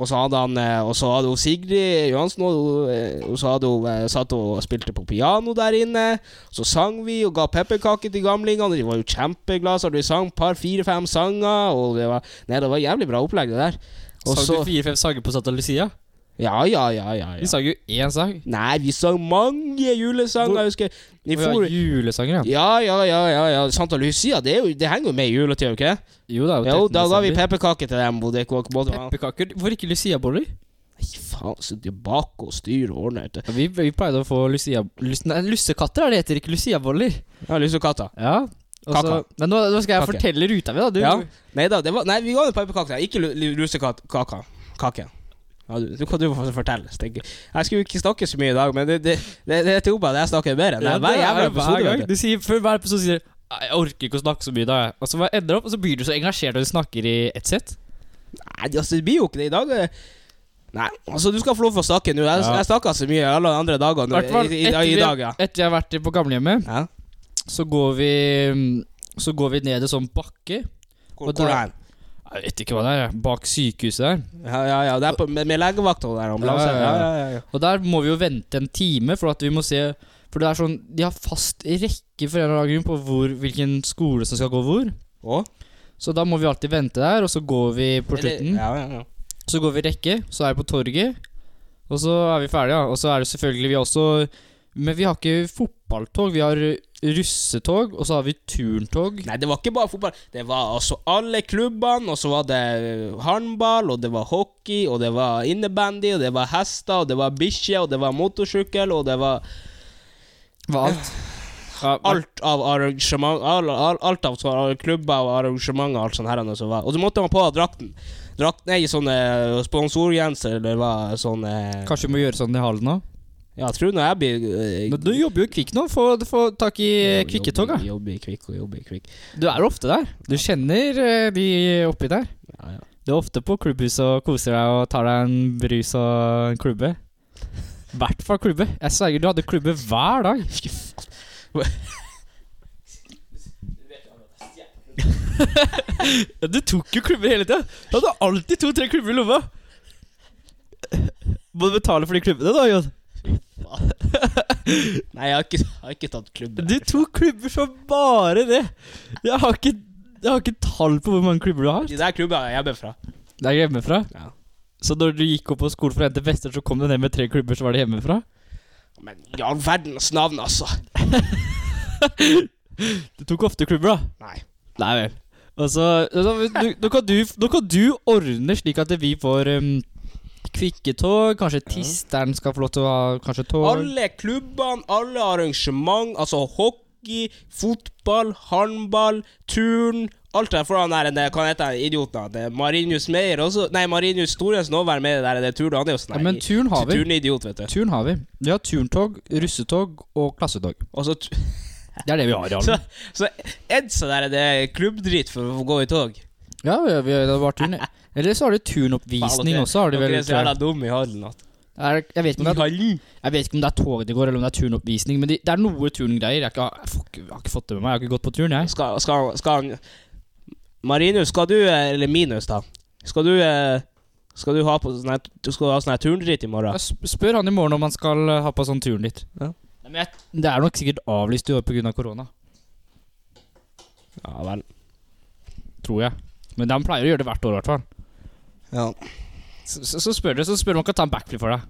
Og så hadde han eh, Og så hadde hun Sigrid Johansen, og, hun, eh, og så hadde hun eh, satt og spilte på piano der inne. Så sang vi og ga pepperkaker til gamlingene. De var jo kjempeglade. Så hadde vi sang par, fire-fem sanger, og det var Nei, det var jævlig bra opplegg, det der. Og
sang
så-
du fire-fem sanger på Santa Lucia?
ja, ja, ja, ja,
Vi
ja.
sang jo én sang.
Nei, vi sang mange julesanger,
Hvor-
jeg husker Vi
Vi
for...
har julesanger, ja.
Ja, ja, ja, ja, ja. Santa Lucia, det, er jo, det henger jo med i juletida, ikke det?
Jo da.
Jo, da ga vi
desember.
pepperkaker til dem. Og det var ikke både
pepperkaker. Hvorfor ikke luciaboller?
Nei, faen, så det er bak og styr og ordner. vet du.
Ja, Vi, vi pleide å få lucia... Lus, nei, lussekatter er det heter, ikke luciaboller.
Jeg har lyst til katta.
Ja. og så-
Kaka.
Men nå, nå skal jeg
Kake.
fortelle ruta mi, da. Du,
Ja. Nei da, det var Nei, vi ga jo pepperkaker til dem, ikke lu- lu- lusekaka. Kake. Ja, du, du kan du få fortelle. Stenke. Jeg skulle jo ikke snakke så mye i dag, men det, det, det, det er til oppe at jeg snakker mer enn deg. Hver jævla episode. vet du.
Du sier før hver episode sier du, «Nei, jeg orker ikke å snakke så mye i dag. Og så bare ender det opp, og så blir du så engasjert når du snakker i ett sett.
Nei, altså, det blir jo ikke det i dag. eh. Nei, altså, du skal få lov å snakke nå. Jeg,
Ja.
jeg snakka så mye alle andre dager nå,
Hvertfall
i, i,
etter
i,
vi-
i dag, ja.
Etter vi har vært på gamlehjemmet,
ja.
så går vi mm, Så går vi ned en sånn bakke.
Hvor,
Og
hvor
der-
er den?
Jeg vet ikke hva det er, jeg. bak sykehuset der.
Ja, ja, ja. Det er på, med, med legevakta og der, ambulanse.
Ja,
Ja,
ja,
ja,
ja.
ja, ja.
Og der må vi jo vente en time, for at vi må se For det er sånn De har fast rekke for en eller annen grunn på hvor, hvilken skole som skal gå hvor.
Og?
Så da må vi alltid vente der, og så går vi på slutten.
Ja, ja, ja.
Så går vi rekke, så er vi på torget, og så er vi ferdige. Ja. Og så er det selvfølgelig vi har også Men vi har ikke fotballtog. Vi har russetog, og så har vi turntog.
Nei, det var ikke bare fotball. Det var altså alle klubbene, og så var det eh, håndball, og det var hockey, og det var innebandy, og det var hester, og det var bikkjer, og det var motorsykkel, og det var
Hva alt? Ja,
alt av arrangement all, all, Alt av sånne klubber og arrangementer og alt sånt her og så var Og så måtte man på drakten. Drakt, nei, sånne sponsorgenser eller hva sånne
Kanskje vi må gjøre sånn i Halden nå?
Ja, jeg tror når jeg blir eh,
Men du jobber jo i Kvikk nå. Få, få tak i
jobber-
Kvikketoga.
Jobber i Kvikk og jobber i Kvikk.
Du er ofte der. Du kjenner eh, de oppi der.
Ja, ja.
Du er ofte på klubbhuset og koser deg og tar deg en brus og en klubbe. I hvert fall klubbe. Jeg sverger, du hadde klubbe hver dag.
Fy faen.
Du tok jo klubber hele tida. Du hadde alltid to-tre klubber i lomma. Må du betale for de klubbene, da, Jon?
Nei, jeg har ikke, jeg har ikke tatt klubben.
Du tok klubber for bare det. Jeg har ikke, jeg har ikke tall på hvor mange klubber du har.
De der klubbene jeg jobber fra.
Det er hjemmefra.
Ja.
Så når du gikk opp på skolen for å hente fester, så kom du ned med tre klubber, så var det hjemmefra?
Men i all verdens navn, altså.
Du tok ofte klubber, da.
Nei.
Nei vel. Altså, da, du, nå, kan du, nå kan du ordne slik at vi får um, kvikketog. Kanskje tisteren skal få lov til å ha kanskje tog.
Alle klubbene, alle arrangement, altså hockey, fotball, håndball, turn Alt det der foran der, det kan hete den idioten det er Marinius Meyer også Nei, Marinius Storesen òg være med i det der, det er turn han er jo sånn
ja, men
her-
turn har vi.
turnidiot, vet du.
Turn har vi. Vi har turntog, russetog og klassetog.
Og så, tu-
Det er det vi har i
så,
Halden.
så Edsa der, det er klubbdrit for å gå i tog.
Ja, vi, vi, det var turn. Eller så har de
Faen,
turnoppvisning
dere-
også. har de
Dere
vel
er så
tror jeg.
jævla dumme i Halden at
Er, jeg, vet ikke om det er, jeg vet ikke om det er tog det går, eller om det er turnoppvisning, men det, det er noe turngreier. Jeg, har ikke- jeg, får ikke- jeg har ikke fått det med meg. Jeg har ikke gått på turn, jeg.
Skal, skal, skal han Marinus, skal du eh, Eller Minus, da. Skal du eh, Skal du ha på sånn her Du skal ha sånn her turndritt i morgen?
jeg sp- spør han i morgen om han skal eh, ha på sånn turen litt.
Ja.
Nei, men jeg, det er nok sikkert avlyst i år pga. korona,
Ja vel.
tror jeg. Men de pleier å gjøre det hvert år, i hvert fall.
Ja.
Så, så, så spør du, så spør du om han kan ta en backflip for deg.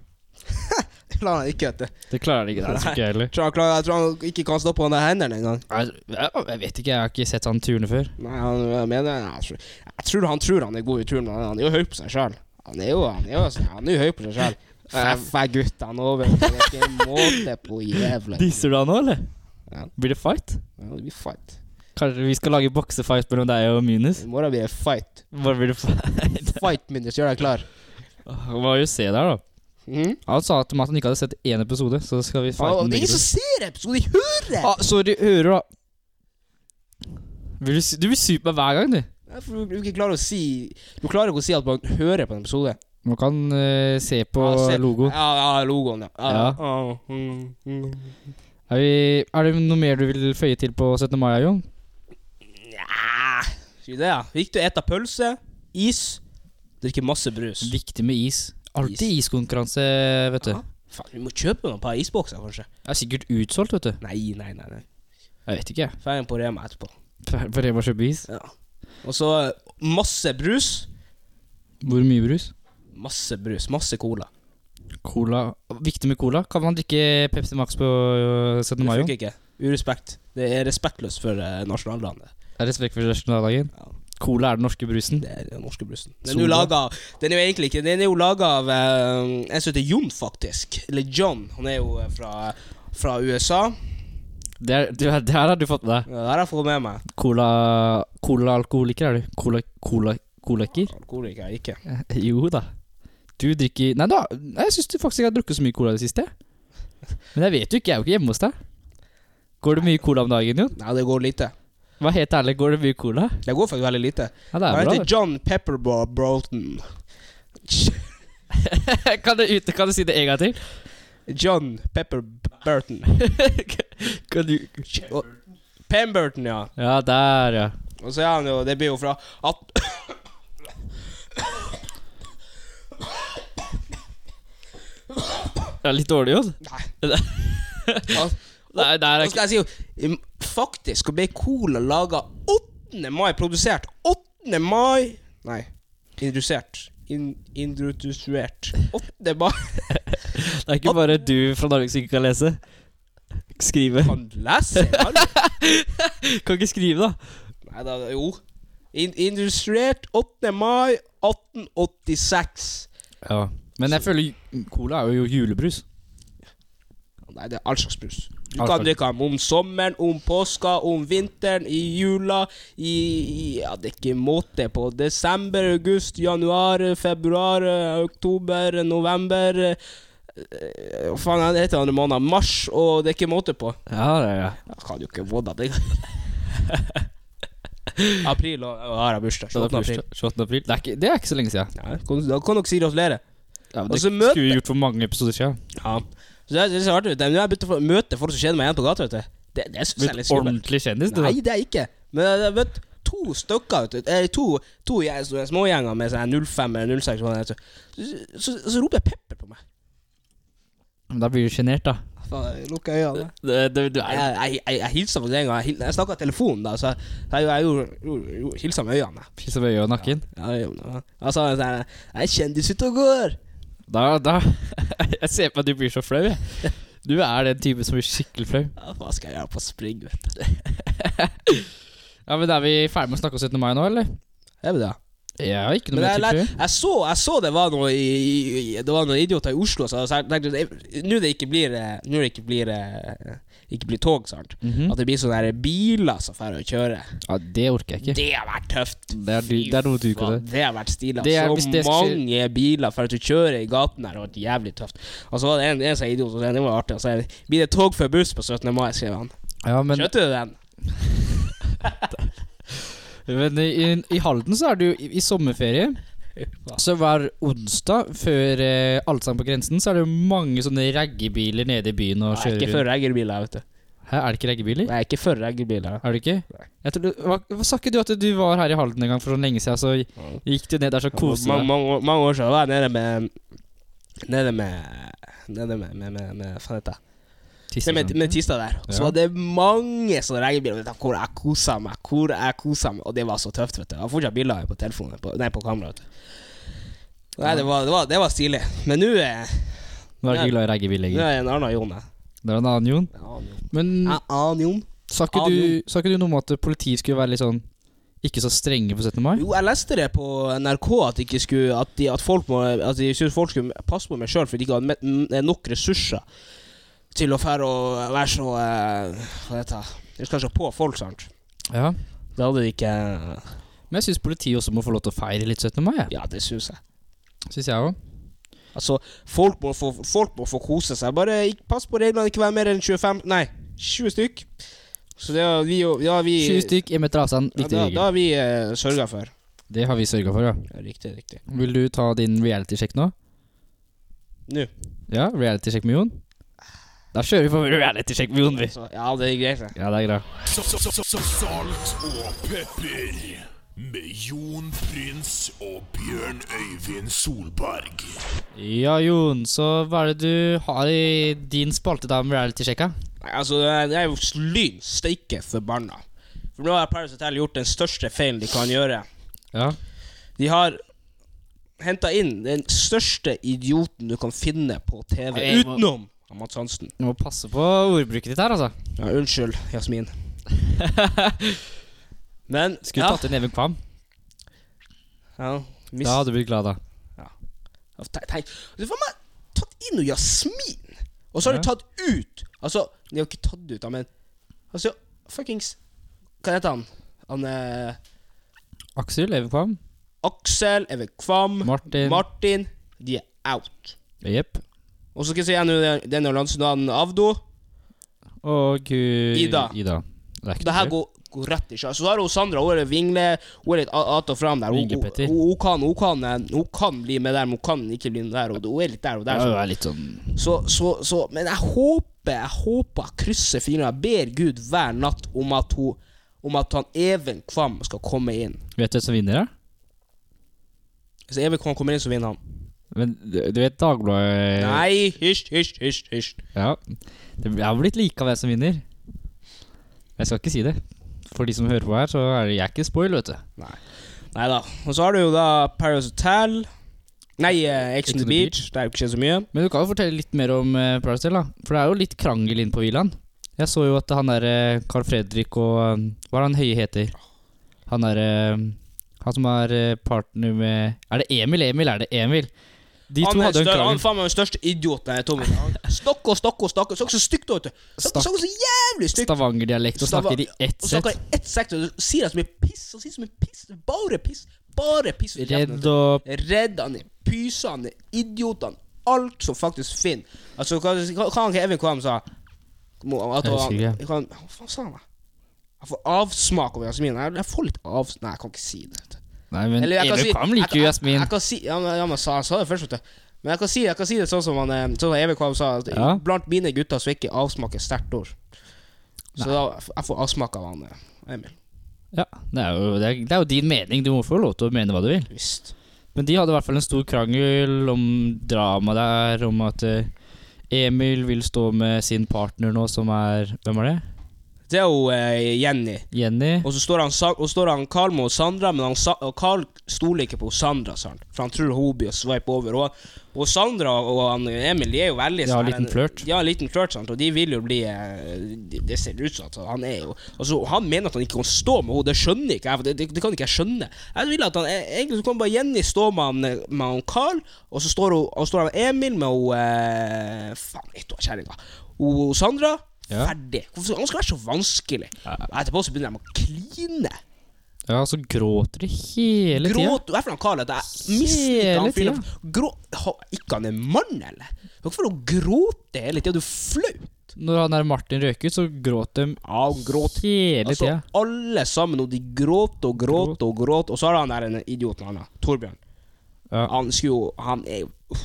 Klarer han ikke, vet du.
Det klarer de ikke. Det tror ikke jeg heller.
Tror han klarer, jeg tror han ikke kan stå på han der hendene engang.
Jeg, jeg, jeg vet ikke, jeg har ikke sett han turne før.
Nei, han jeg mener jeg tror, jeg tror han tror han er god i turn, men han er jo høy på seg sjøl. Han er jo han er jo, sånn- han er jo høy på seg sjøl.
Eh,
Fæ gutt, han over. Det er ikke måte på jævla
Disser du han nå, eller?
Ja.
Blir det fight?
Ja, Det blir fight.
Kanskje vi skal lage boksefight mellom deg og Minus?
I morgen blir det fight.
Bare blir det fight?
Fight, Minus. Gjør deg klar.
Han var jo se der, da.
Mhm.
Han sa til meg at han ikke hadde sett én episode, så skal vi fighte
Ah,
den
det
begge
er ingen
to.
som ser episoden, de hører!
Ah, sorry, hører du, da. Vil du, sy- du vil sype meg hver gang, du.
Nei, for Du, du, ikke klarer å si, du klarer ikke å si at man hører på en episode.
Man kan eh, se på
Ja, se-
logoen.
Ja, ja, logoen, ja.
Ja.
Ah, mm, mm.
Er, vi, er det noe mer du vil føye til på 17. mai, Jon?
Nja, Si det, ja. Viktig å ete pølse, is, drikke masse brus.
Viktig med is. Alltid iskonkurranse, vet du.
Ja. Faen, vi må kjøpe noen par isbokser, kanskje.
Det er sikkert utsolgt, vet du.
Nei, nei, nei. nei.
Jeg vet ikke, jeg.
Ferdig på Rema etterpå.
For- For jeg må kjøpe is.
Ja. Og så eh, masse brus.
Hvor mye brus?
Masse brus, masse cola.
Cola. Viktig med cola. Kan man drikke Pepsi Max på øh, 17.
Det
mai?
funker ikke. Urespekt. Det er respektløst for eh, nasjonaldagen. det.
Er respekt for nasjonaldagen.
Ja.
Cola er den norske brusen.
Det er den norske brusen. Den er
Solbær.
jo laget Den er jo egentlig ikke Den er jo laget av eh, en som heter Jon, faktisk. Eller John. Han er jo eh, fra, fra USA.
Det, er, du, det her har du fått med deg.
Det der har jeg fått med meg.
Cola Cola-alkoholiker er du. Cola cola colaker?
Alkoholiker er jeg ikke.
Eh, Jo da. Du drikker Nei, da, nei, jeg syns faktisk jeg har drukket så mye cola i det siste. Men jeg vet jo ikke, jeg er jo ikke hjemme hos deg. Går det mye cola om dagen, Jon?
Nei, det går lite.
Hva helt ærlig, går det mye cola?
Det går faktisk veldig lite.
Ja, det
Han
er bra.
heter John Pepperbaugh Broughton.
det. Kan du, ut- kan du si det en gang til?
John Pepper Burton.
Kan du
Og- Pemberton, ja.
Ja, der, ja.
Og så er han jo Det blir jo fra at
Det er litt dårlig, Jon.
at-
Nei, det er
Nå
ikke
skal jeg si jo im- Faktisk så ble cola laga 8. mai, produsert 8. mai Nei, indusert. In, indusert. 8. mai
Det er ikke bare du fra Norge som ikke kan lese. Skrive.
Kan lese, han.
Kan ikke skrive, da.
Nei da, jo. In, industriert 8. mai 1886.
Ja. Men jeg føler ju- cola er jo julebrus.
Nei, det er all slags brus. Du
All
kan
slags.
drikke den om sommeren, om påska, om vinteren, i jula i, i Ja, det er ikke måte på. Desember, august, januar, februar, eh, oktober, november eh, eh, Hva faen er det heter andre måneder? Mars, og det er ikke måte på.
Ja, ja, ja.
Jeg kan jo ikke få det. april og, og har jeg bursdag. 28. april.
28. april. Det er ikke, det er ikke så lenge siden.
Ja, kan- da kan dere si gratulerer.
Ja,
Og så møte-
skulle vi gjort for mange episoder siden.
Ja. Så det, er- det er så artig. Det er- Nå har jeg begynt å få- møte folk som kjenner meg igjen på gata. vet du. Det, det syns jeg er litt
Blitt
skummelt.
ordentlig kjendis, du. da.
Nei, det er ikke. Men jeg har møtt to stykker, vet du. Eh, to, to jeg- så- smågjenger med sånn 05 eller 06. Sånn, vet du. så, så, så, roper jeg Pepper på meg.
Men Da blir du sjenert, da.
Faen, lukker øynene.
Det- det- du
Jeg,
er-
jeg, jeg, jeg hilsa på den en gang. Jeg, hil- jeg snakka i telefonen, da, så jeg, jeg, jeg gjorde- gjorde- gjorde- hilsa med øynene.
Piss og øye og nakken.
Ja, jeg- ja. Jeg sa sånn Jeg er kjendis ute og går.
Da, da Jeg ser på at du blir så flau, jeg. Du er den typen som blir skikkelig flau.
Ja, hva skal jeg gjøre på spring, vet du.
Ja, men Er vi ferdig med å snakke om 17. mai nå, eller?
Er vi det?
Jeg har ikke noe
Men
mer
jeg, jeg,
tips.
jeg, så, jeg så det var noe i, i, i- Det var noen idioter i Oslo som tenkte Nå det ikke blir eh, Nå det ikke blir eh, Ikke blir tog, sant?
Mm
At det blir sånne her altså, biler som drar og kjører.
Ja, det orker jeg ikke.
Det har vært tøft.
Det er, du, det er noe du ikke
Fy
gjør.
faen, Det har vært stilig. altså.
Det er- hvis
så
det skulle-
mange biler for at du kjører i gaten her, det har vært jævlig tøft. Og så var det en, en sånn idiot som sa det var artig. Og så er det, blir det tog før buss på 17. mai, skrev han.
Ja, men
Skjønte du den?
Men i, i Halden så er det jo i, i sommerferie Så hver onsdag før eh, Allsang på grensen, så er det jo mange sånne raggebiler nede i byen og kjører
Jeg er ikke
rundt.
for reggerbiler, vet du.
Hæ, er det ikke raggebiler?
Jeg er ikke for reggerbiler.
Er det ikke?
Nei.
Jeg tror, du- hva, hva Sa ikke du at du var her i Halden en gang for sånn lenge siden, så gikk du ned der så koselig?
Mange, mange, år- mange år siden var jeg nede med Nede med Nede med, med, med, med Hva heter det?
Tisse
Nede med,
sånn.
med Tista der. Så
Ja.
var det mange sånne reggebiler. Vet du, hvor jeg kosa meg, hvor jeg kosa meg. Og det var så tøft, vet du. Jeg har fortsatt bilder på telefonen på, Nei, på kamera. vet du. Nei, det var, det var, det var stilig. Men nå er
Nå er du ikke glad i raggebil
nå
lenger.
er jeg en annen Jon. jeg.
Det er en annen Jon.
En annen Jon.
Men
En annen Jon.
sa ikke, du, sa ikke du noe om at politiet skulle være litt sånn ikke så strenge på 17. mai?
Jo, jeg leste det på NRK at, de ikke skulle, at, de, at folk må At de syntes folk skulle passe på meg sjøl fordi de ikke hadde met- n- eh, nok ressurser til å fære og være så eh, Hva heter det? De skal ikke på folk, sant?
Ja.
Det hadde de ikke eh,
Men jeg syns politiet også må få lov til å feire litt 17. mai. jeg.
Ja, det syns jeg.
Synes jeg også.
Altså, folk må, få, folk må få kose seg. Bare ikke, pass på reglene, ikke være mer enn 25 Nei, 20 stykk. Så det har vi jo ja, vi,
20 stykk, én meter avstand,
Ja,
viktig
da, da
regel.
har vi uh, sørga for.
Det har vi sørga for, ja.
Ja, Riktig, riktig.
Vil du ta din reality-sjekk nå?
Nå.
Ja, reality-sjekk med Jon? Da kjører vi på reality-sjekk med Jon, Sånn vi.
Så, Altså, ja, det er greit, det.
Ja, det er greit.
Så- så- så- så- Salt og pepper med Jon Prins og Bjørn Øyvind Solberg.
Ja, Jon, så hva er det du har i din spalte da med reality-sjekka?
Nei, altså, jeg er jo lyn steike forbanna. For nå har Paris Hotel gjort den største feilen de kan gjøre.
Ja.
De har henta inn den største idioten du kan finne på TV,
Jeg må-
utenom Mats Hansen.
Du må passe på ordbruket ditt her, altså.
Ja, unnskyld, Jasmin. Men
Skulle
ja,
tatt inn Even Kvam.
ja, mis,
Da hadde du blitt glad, da.
Tenk, tenk. altså, Du får meg tatt inn noe Jasmin, og så har
Ja.
du tatt ut Altså, de har ikke tatt ut, da, men Altså, fuckings Hva heter han? Han eh,
Aksel, Even Kvam.
Aksel, Even Kvam,
Martin.
Martin De er out.
Jepp.
Og så skal jeg si igjen denne landsnavnen Avdo.
Og uh,
Ida.
Ida. Det er ikke
Det her
noe.
går, går rett i sjø. Så har hun Sandra, hun er vingle, hun er litt a- att og fram der. Hun, hun,
Vinglepetter.
hun, hun, kan, hun, kan, eh, hun kan bli med der, men hun kan ikke bli med der. Og hun er litt der og
Ja,
der.
det
Så.
er litt sånn
Så, så, så, men jeg håper, jeg håper, jeg krysser fingrene. Jeg ber Gud hver natt om at, hun, om at han Even Kvam skal komme inn.
Vet du hvem som vinner, da?
Hvis Even Kvam kommer inn, så vinner han.
Men du du vet Dagbladet
Nei, hysj, hysj, hysj. hysj.
Ja. Det jeg har blitt lika hvem som vinner. Jeg skal ikke si det. For de som hører på her, så er det jeg er ikke spoil, vet du.
Nei da. Og så har du jo da Paris Hotel. Nei, eh, Ex on the Beach. Det er jo ikke så mye.
Men du kan jo fortelle litt mer om uh, Pricetel, da. For det er jo litt krangel inne på villaen. Jeg så jo at han der eh, Carl Fredrik og eh, Hva er han høye heter? Han er eh, Han som er eh, partner med Er det Emil? Emil, er det Emil? De
han
to
er
hadde jo en
større- han er
krangel.
faen meg den største idioten eh, jeg tommer. Stokk og stokk og stokk. Så ikke så stygt ut. Så
Stak-
så så jævlig stygt.
Stavangerdialekt og
Stava-
snakker i ett sett.
Og snakker i ett sektor. Du Sier at som er piss. Og sier som er piss. Bare piss. Bare piss. ut i kjeften.
Redd og
Redd han er pysa, han er idiot, han er Alt som faktisk finner. Altså, hva hva- hva han Even Kvam sa? Mo- At
Jeg
han,
husker
han, hva faen sa han da? Jeg får avsmak av Jasmin. Jeg, jeg får litt av... Nei, jeg kan ikke si det. vet du.
Nei, men
Eller jeg kan
Emil
si-
Kvam
jeg
liker
kan-
jo
Jeg,
Jasmin.
jeg kan si, ja, men, ja, men sa, sa det først, vet du. Men jeg kan si, jeg kan si det sånn som, han, eh, sånn som Even Kvam sa. At
Ja.
Blant mine gutter så er ikke avsmak et sterkt ord. Så da, jeg får avsmak av han eh, Emil.
Ja, det er, jo, det, er, det er jo din mening. Du må få lov til å mene hva du vil.
Visst.
Men de hadde i hvert fall en stor krangel om drama der, om at eh, Emil vil stå med sin partner nå, som er Hvem er det?
Det er jo eh, Jenny.
Jenny.
Og så står han, Sa- og står han Carl mot Sandra, men han, Sa- og Carl stoler ikke på Sandra, sant? for han tror hun blir å swipe over. Og, og Sandra og han Emil de er jo veldig
De har
sånn
en liten
her-
flørt.
De har en liten flørt, sant? og de vil jo bli eh, de- Det ser ut som at han er jo altså, Han mener at han ikke kan stå med henne, det skjønner ikke jeg. For det, det, det kan ikke jeg skjønne. Jeg vil at han, eh, Egentlig så kan bare Jenny stå med han, eh, med han Carl, og så står, hun, og står han Emil med hun eh, Faen, ett år kjerringa. Hun hun Sandra.
Ja.
Ferdig. Hvorfor han skal være så vanskelig?
Ja.
Etterpå så begynner de å kline.
Ja, så gråter de hele tida.
Gråt Hva er det han kaller det? Jeg misliker
Hele
han fyren.
tida.
Grå... Ha, ikke han er mann, eller? Hvorfor å gråte hele tida? Du er flaut.
Når han der Martin røk ut, så gråt de
Ja, han gråter.
hele
Altså,
tida.
alle sammen, og de gråter og gråter og gråter. Og så har han der en idioten han har, Torbjørn.
Ja.
Han skulle jo Han er jo uff.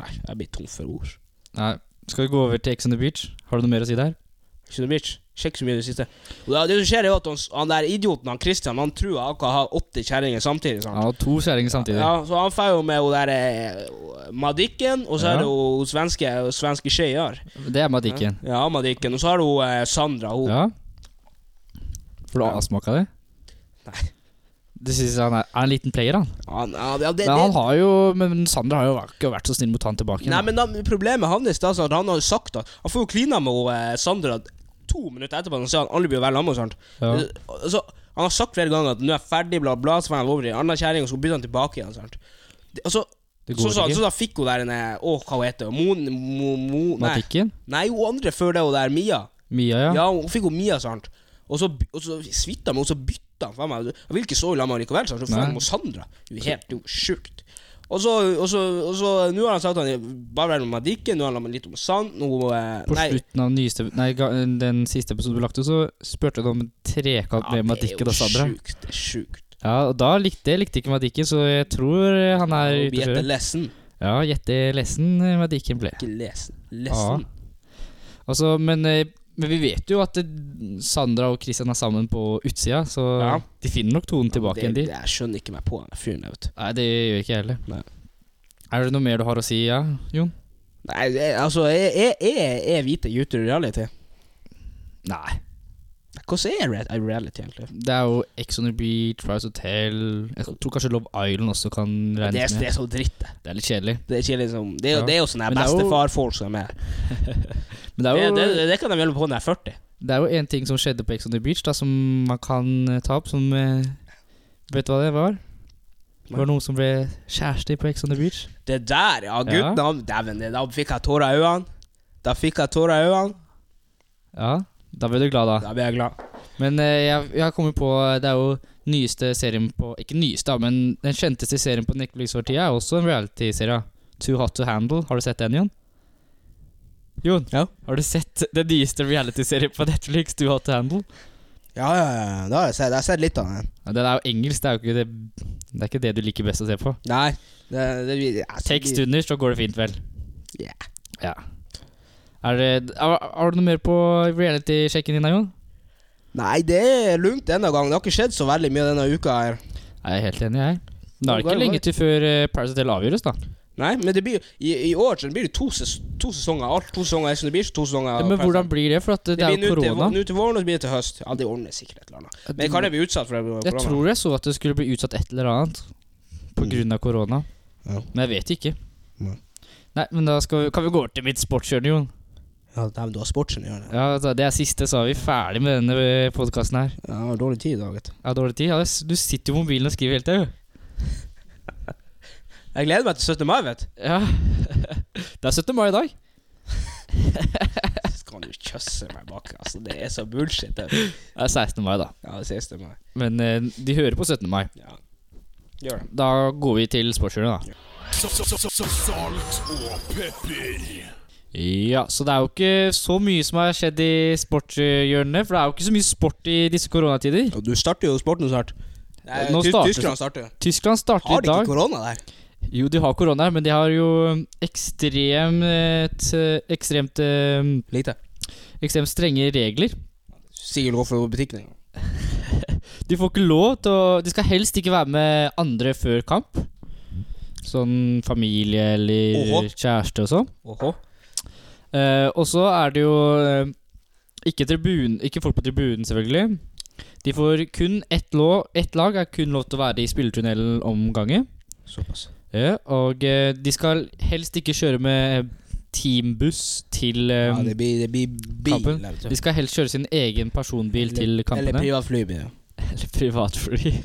Nei, jeg blir tom for ord.
Nei. Skal vi gå over til Ex on the Beach? Har du noe mer å si der?
Ikke noe bitch. Sjekk så mye i det siste. Og det, det som skjer, er jo at han, s- han der idioten, han Christian, han tror jeg akkurat har 80 kjerringer samtidig.
Han
Sant?
har to kjerringer samtidig.
Ja, så han får jo med hun der eh, Madikken, og så
Ja.
er det jo svenske, svenske skeier.
Det er Madikken.
Ja, Madikken. Og så har hun eh, Sandra, hun.
Ja. Får du avsmak av det?
Nei.
Du syns han er, er en liten player, han?
Han, ja, det, det,
men han har jo Men Sander har jo ikke vært så snill mot han tilbake.
Nei,
da.
men da, problemet hans er altså at han har jo sagt at Han får jo klina med hun, eh, Sandra to minutter etterpå. Han sier han aldri blir å være sammen med henne. sant?
Ja.
Eh, Så, han har sagt flere ganger at 'nå er jeg ferdig', bla, bla. Så får han over i en annen kjerring, og så bytter han tilbake igjen. sant? Det- Og så,
Det går
så, så,
ikke.
så da fikk hun der en eh, Å, hva hun heter hun? Mon... Mo, mo, nei.
Matikken?
nei, hun andre før det, hun der Mia.
Mia, ja.
Ja, hun fikk hun Mia, sant. Og så, by- og så svitta hun, og så bytta han faen meg. Jeg vil ikke sove sammen med han likevel, sant. Så
Nei.
faen med Sandra. Det er jo helt det er jo sjukt. Og så, og så, og så Nå har han sagt at han bare er med Madikken, nå har han litt om Sand Nå eh,
På
Nei.
slutten av nyeste, nei, ga- den siste episoden du lagte, så spurte du om en trekant
Ja,
med Madikken og Sandra.
sjukt. Det er sjukt.
Ja, og da likte, det likte ikke Madikken, så jeg tror eh, han er
Og
ute å
Biette
kjøre.
Lessen.
Ja, gjette lesen Madikken ble.
Ikke Lesen. Lessen.
Altså, men, eh, men vi vet jo at eh, Sandra og Christian er sammen på utsida, så
Ja.
de finner nok tonen tilbake igjen,
det,
de.
Jeg skjønner ikke meg på den fyren der, vet du.
Nei, det gjør ikke jeg heller.
Nei.
Er det noe mer du har å si, ja, Jon?
Nei, jeg, altså, jeg, jeg, jeg, jeg vite YouTube reality.
Nei.
Hvordan er re- er reality, egentlig?
Det er jo Ex on the Beach, Price Hotel Jeg tror kanskje Love Island også kan
Det
regnes
er, det
med.
er så dritt, det.
Det er litt kjedelig.
Det er ikke liksom Det er, jo-
Ja.
det er jo sånne
Men det er jo-
bestefarfolk som er med.
Men det
Det,
er jo,
det, det, det kan de gjøre på når jeg er 40.
Det er jo en ting som skjedde på Ex on the Beach da, som man kan eh, ta opp, som eh, Vet du hva det var? Det var noen som ble kjærester på Ex on the Beach.
Det der, ja. Gutten,
Ja.
han Dæven, det- da fikk jeg tårer i øynene. Da fikk jeg tårer i øynene.
Ja, da ble du glad, da.
Da ble jeg glad.
Men eh, jeg, jeg har kommet på eh, Det er jo nyeste serien på Ikke nyeste, da, men den kjenteste serien på Netflix for tida er også en reality-serie. Too Hot To Handle. Har du sett den, Jon? Jon,
Ja.
har du sett den nyeste reality-serien på Netflix, Too Hot To Handle?
Ja, ja, ja. Da har jeg sett, jeg har sett litt av den.
Ja, den er jo engelsk, det er jo ikke det, det er ikke det du liker best å se på.
Nei. Det, det, jeg,
Tekst under, så går det fint, vel.
Ja.
Ja. Er det, har, har du noe mer på reality-sjekken din, da, Jon?
Nei, det er lunt denne gangen. Det har ikke skjedd så veldig mye denne uka her.
Jeg er helt enig, jeg. Da er det ikke
Går det, går
lenge
det?
til før eh, Paradise Hotel avgjøres, da.
Nei, men det blir jo I, i år så blir det to, ses, to sesonger. Alt to sesonger Ex on the Beach, to sesonger
Men hvordan blir det? For at det, er jo
blir nå til vå-
korona.
Nå til våren, og så blir det til høst. Ja, det ordner sikkert et eller annet. Men kan det bli utsatt for det? på grunn av
Jeg
korona?
tror jeg så at det skulle bli utsatt et eller annet På
Mm.
grunn av korona.
Ja.
Men jeg vet ikke.
Nei.
Nei, men da skal vi, kan vi gå over til mitt sportshjørne, Jon.
Ja, dæven, du har sportsen i hjørnet.
Ja, da- det er siste, så er vi ferdig med denne podkasten her.
Ja, jeg har dårlig tid i dag, vet du.
Jeg har dårlig tid. Ja, det s- Du sitter jo i mobilen og skriver hele tida, jo.
Jeg gleder meg til 17. mai, vet du.
Ja. Det er 17. mai i dag.
Så kan du kjøsse meg bak. Altså, det er så bullshit. Det.
Det er 16. mai, da.
Ja, det siste meg.
Men eh, de hører på 17. mai.
Ja. Gjør det.
Da går vi til sportshjørnet, da.
Så- så- så- så- Salt og pepper.
Ja, så det er jo ikke så mye som har skjedd i sportshjørnet. For det er jo ikke så mye sport i disse koronatider.
Og du starter jo sporten snart. Nei,
Nå
ty-
starter-
Tyskland starter.
Tyskland starter i
Har de ikke
dag.
korona der?
Jo, de har korona, men de har jo um, ekstremt, ekstremt, eh,
Lite.
ekstremt strenge regler.
Sikkert gå for butikken. en gang.
De får ikke lov til å De skal helst ikke være med andre før kamp. Sånn familie eller
Oho.
kjæreste og sånn.
Åhå.
Eh, og så er det jo eh, ikke, tribun, ikke folk på tribunen, selvfølgelig. De får kun ett, lå- ett lag er kun lov til å være i spillertunnelen om gangen.
Såpass.
Ja, og eh, de skal helst ikke kjøre med eh, teambuss til eh,
Ja, det blir, det blir bil.
kampen.
der, vet du.
De skal helst kjøre sin egen personbil til kampene.
Eller privatfly blir det.
Eller privatfly.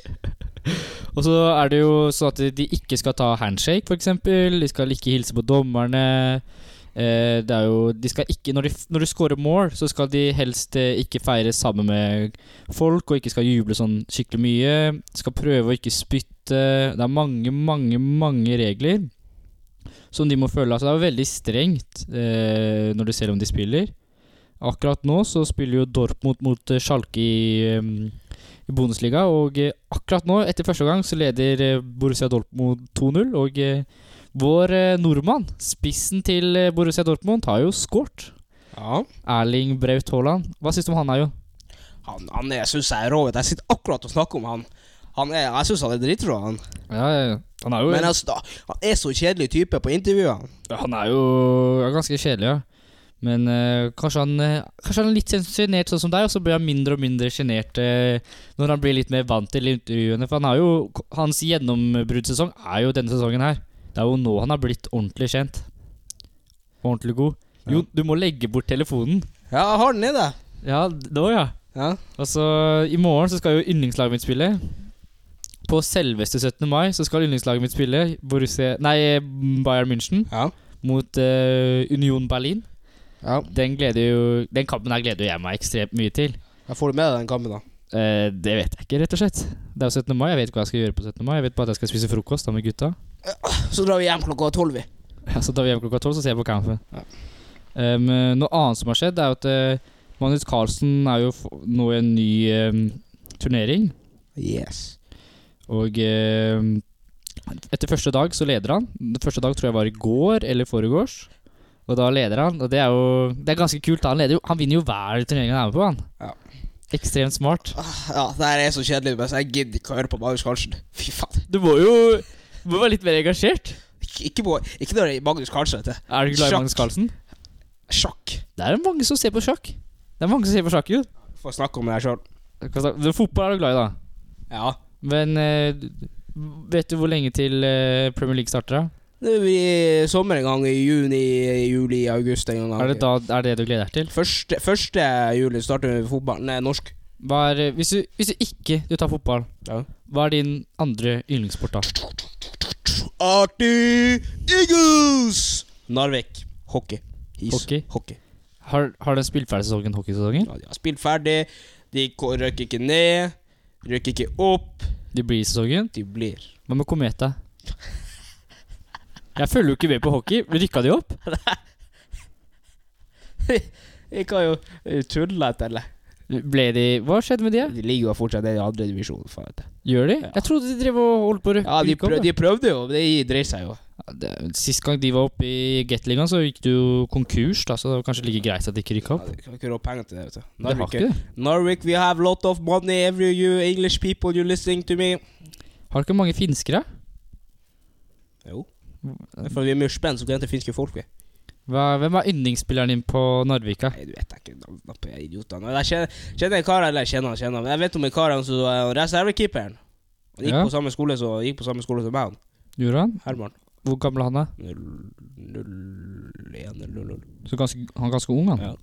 og så er det jo sånn at de ikke skal ta handshake, f.eks. De skal ikke hilse på dommerne. Eh, det er jo De skal ikke Når de, når de scorer mål, så skal de helst eh, ikke feire sammen med folk, og ikke skal juble sånn skikkelig mye. Skal prøve å ikke spytte. Det er mange, mange, mange regler som de må følge. Altså, det er jo veldig strengt eh, når du ser om de spiller. Akkurat nå så spiller jo Dortmund mot eh, Schalke i eh, i Bundesliga. Og eh, akkurat nå, etter første gang, så leder eh, Borussia Dortmund 2-0. Og eh, vår eh, nordmann, spissen til eh, Borussia Dortmund, har jo skåret.
Ja.
Erling Braut Haaland. Hva syns du om han, Ayo?
Han, han er, syns jeg er rå. vet du. Jeg sitter akkurat og snakker om han. han er, jeg syns han er dritrå, han.
Ja, ja, han er jo,
Men altså, da, han er så kjedelig type på intervjuene.
han er jo ja, ganske kjedelig, ja. Men eh, kanskje, han, eh, kanskje han er litt sjenert sånn som deg, og så blir han mindre og mindre sjenert eh, når han blir litt mer vant til intervjuene. For han har jo, hans gjennombruddssesong er jo denne sesongen her. Det er jo nå han har blitt ordentlig kjent. Ordentlig god. Jo, du må legge bort telefonen.
Ja, jeg har den nede.
Ja, nå ja.
Ja.
Og så I morgen så skal jo yndlingslaget mitt spille. På selveste 17. mai så skal yndlingslaget mitt spille Borussia, nei, Bayern München
Ja.
mot eh, Union Berlin.
ja.
Den, gleder jo, den kampen her gleder jo jeg meg ekstremt mye til.
Jeg får det med deg den kampen, da.
Eh, det vet jeg ikke, rett og slett. Det er jo 17. mai. Jeg vet ikke hva jeg skal gjøre på 17. mai. Jeg vet bare at jeg skal spise frokost da med gutta.
Så drar vi hjem klokka tolv, vi.
Ja, Så da vi er hjemme klokka tolv, så ser jeg på kampen. Um, noe annet som har skjedd, er jo at eh, Magnus Carlsen er jo f- nå i en ny eh, turnering.
Yes.
Og eh, etter første dag så leder han. Den første dag tror jeg var i går eller foregårs. Og da leder han, og det er jo Det er ganske kult. da. Han, leder jo, han vinner jo hver turnering han er med på, han.
Ja.
Ekstremt smart.
Ah, Ja, det her er så kjedelig, men jeg gidder ikke å høre på Magnus Carlsen. Fy faen.
Du må jo må være litt mer engasjert.
Ikke, ikke, på, ikke når det er Magnus Carlsen, vet du.
Er du ikke glad i
Sjakk.
Magnus Carlsen?
Sjakk.
Det er mange som ser på sjakk. Det er mange som ser på sjakk, jo.
Får snakke om det her sjøl.
Hva sa- Men Fotball er du glad i, da.
Ja.
Men eh, vet du hvor lenge til eh, Premier League starter? da?
Det blir sommer en gang i juni, juli, august en gang.
Er det da er det du gleder deg til?
Første, første juli starter vi fotball. Nei, norsk.
Hva er, eh, hvis, du, hvis du ikke du tar fotball,
Ja.
hva er din andre yndlingssport, da?
Arty Eagles! Narvik. Hockey. Is.
Hockey?
Hockey.
Har, har den spilt ferdig sesongen, hockeysesongen?
Ja, de har spilt ferdig. De ko- røkker ikke ned. Røkker ikke opp.
De blir i sesongen?
De blir.
Hva med Kometa? Jeg følger jo ikke med på hockey. Rykka de opp?
Jeg kan jo eh, tulle eller?
Ble de Hva skjedde med de?
De ligger jo fortsatt nede i andre divisjon. faen vet jeg.
Gjør de?
Ja.
Jeg trodde de drev og holdt på å rykke
Ja, de,
rykke opp,
prøv,
jeg.
de prøvde jo, men det dreier seg jo.
Ja, det- Sist gang de var oppe i Gateligaen, så gikk det jo konkurs, da, så det var kanskje like greit at de ikke rykka
Ja,
opp.
de kan ikke råd penger til det, vet du.
Det har
Narvik,
ikke det.
Narvik, we have lot of money every you English people you listening to me.
Har ikke mange finskere?
Jo.
Mm.
For vi er mye spent, så kan ikke finske folk vi.
Hva, hvem er yndlingsspilleren din på Narvika?
Nei, du vet jeg ikke navnet på de idiotene. Jeg kjenner, kjenner en kar eller jeg kjenner han, kjenner han. Men jeg vet om en kar han som er reservekeeperen. Han gikk,
Ja.
på samme skole, så, gikk på samme skole som meg, han.
Gjorde han?
Herman.
Hvor gammel er han er?
01 eller 00.
Så ganske, han er ganske ung, han.
Ja.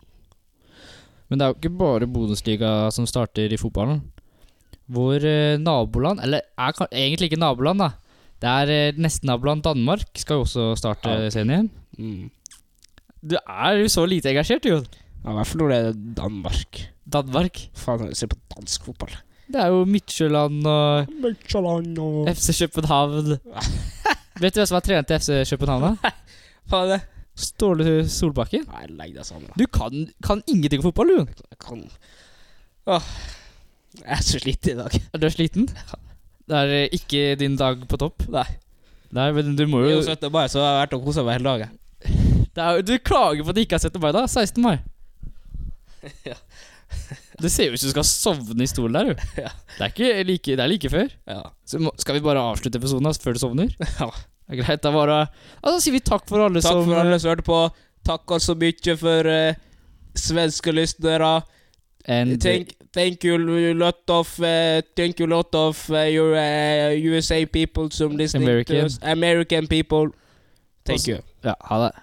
Men det er jo ikke bare Bundesliga som starter i fotballen. Vår eh, naboland, eller er ka- egentlig ikke naboland, da. Det er eh, nesten-naboland Danmark skal jo også starte
Ja.
serien igjen.
Mm.
Du er jo så lite engasjert, Jon.
Ja, I hvert fall når det er Danmark.
Danmark.
Faen, jeg ser på dansk fotball.
Det er jo Midtjylland og
Michelin og
FC København. Vet du hvem som har trent i FC København? da?
Hva er det?
Ståle Solbakken.
Nei, legg deg sammen. da.
Du kan, kan ingenting om fotball, du.
Jeg kan Åh. Jeg er så sliten i dag.
Er du sliten? Det er eh, ikke din dag på topp.
Nei.
Nei, men du må
Det er
jo
jo 17. mai, så jeg har vært og kosa meg hele dagen.
det er, jo- Du klager på at du ikke har sett det meg, da. 16. mai.
Ja.
Det ser jo ut som du skal sovne i stolen der, du.
Ja.
Det er, ikke like, det er like før.
Ja.
Så må, skal vi bare avslutte episoden altså, før du sovner?
Ja.
Det er greit, da bare ja, Da sier vi takk for alle
Takk
som eh,
for alle som hørte på. Takk så mye for eh, svenske lyttere.
And
Thank, thank you lot of eh, Thank you lot of eh, your eh, USA people som listening
American.
to us. American people. Thank
Også-
you.
Ja, ha det.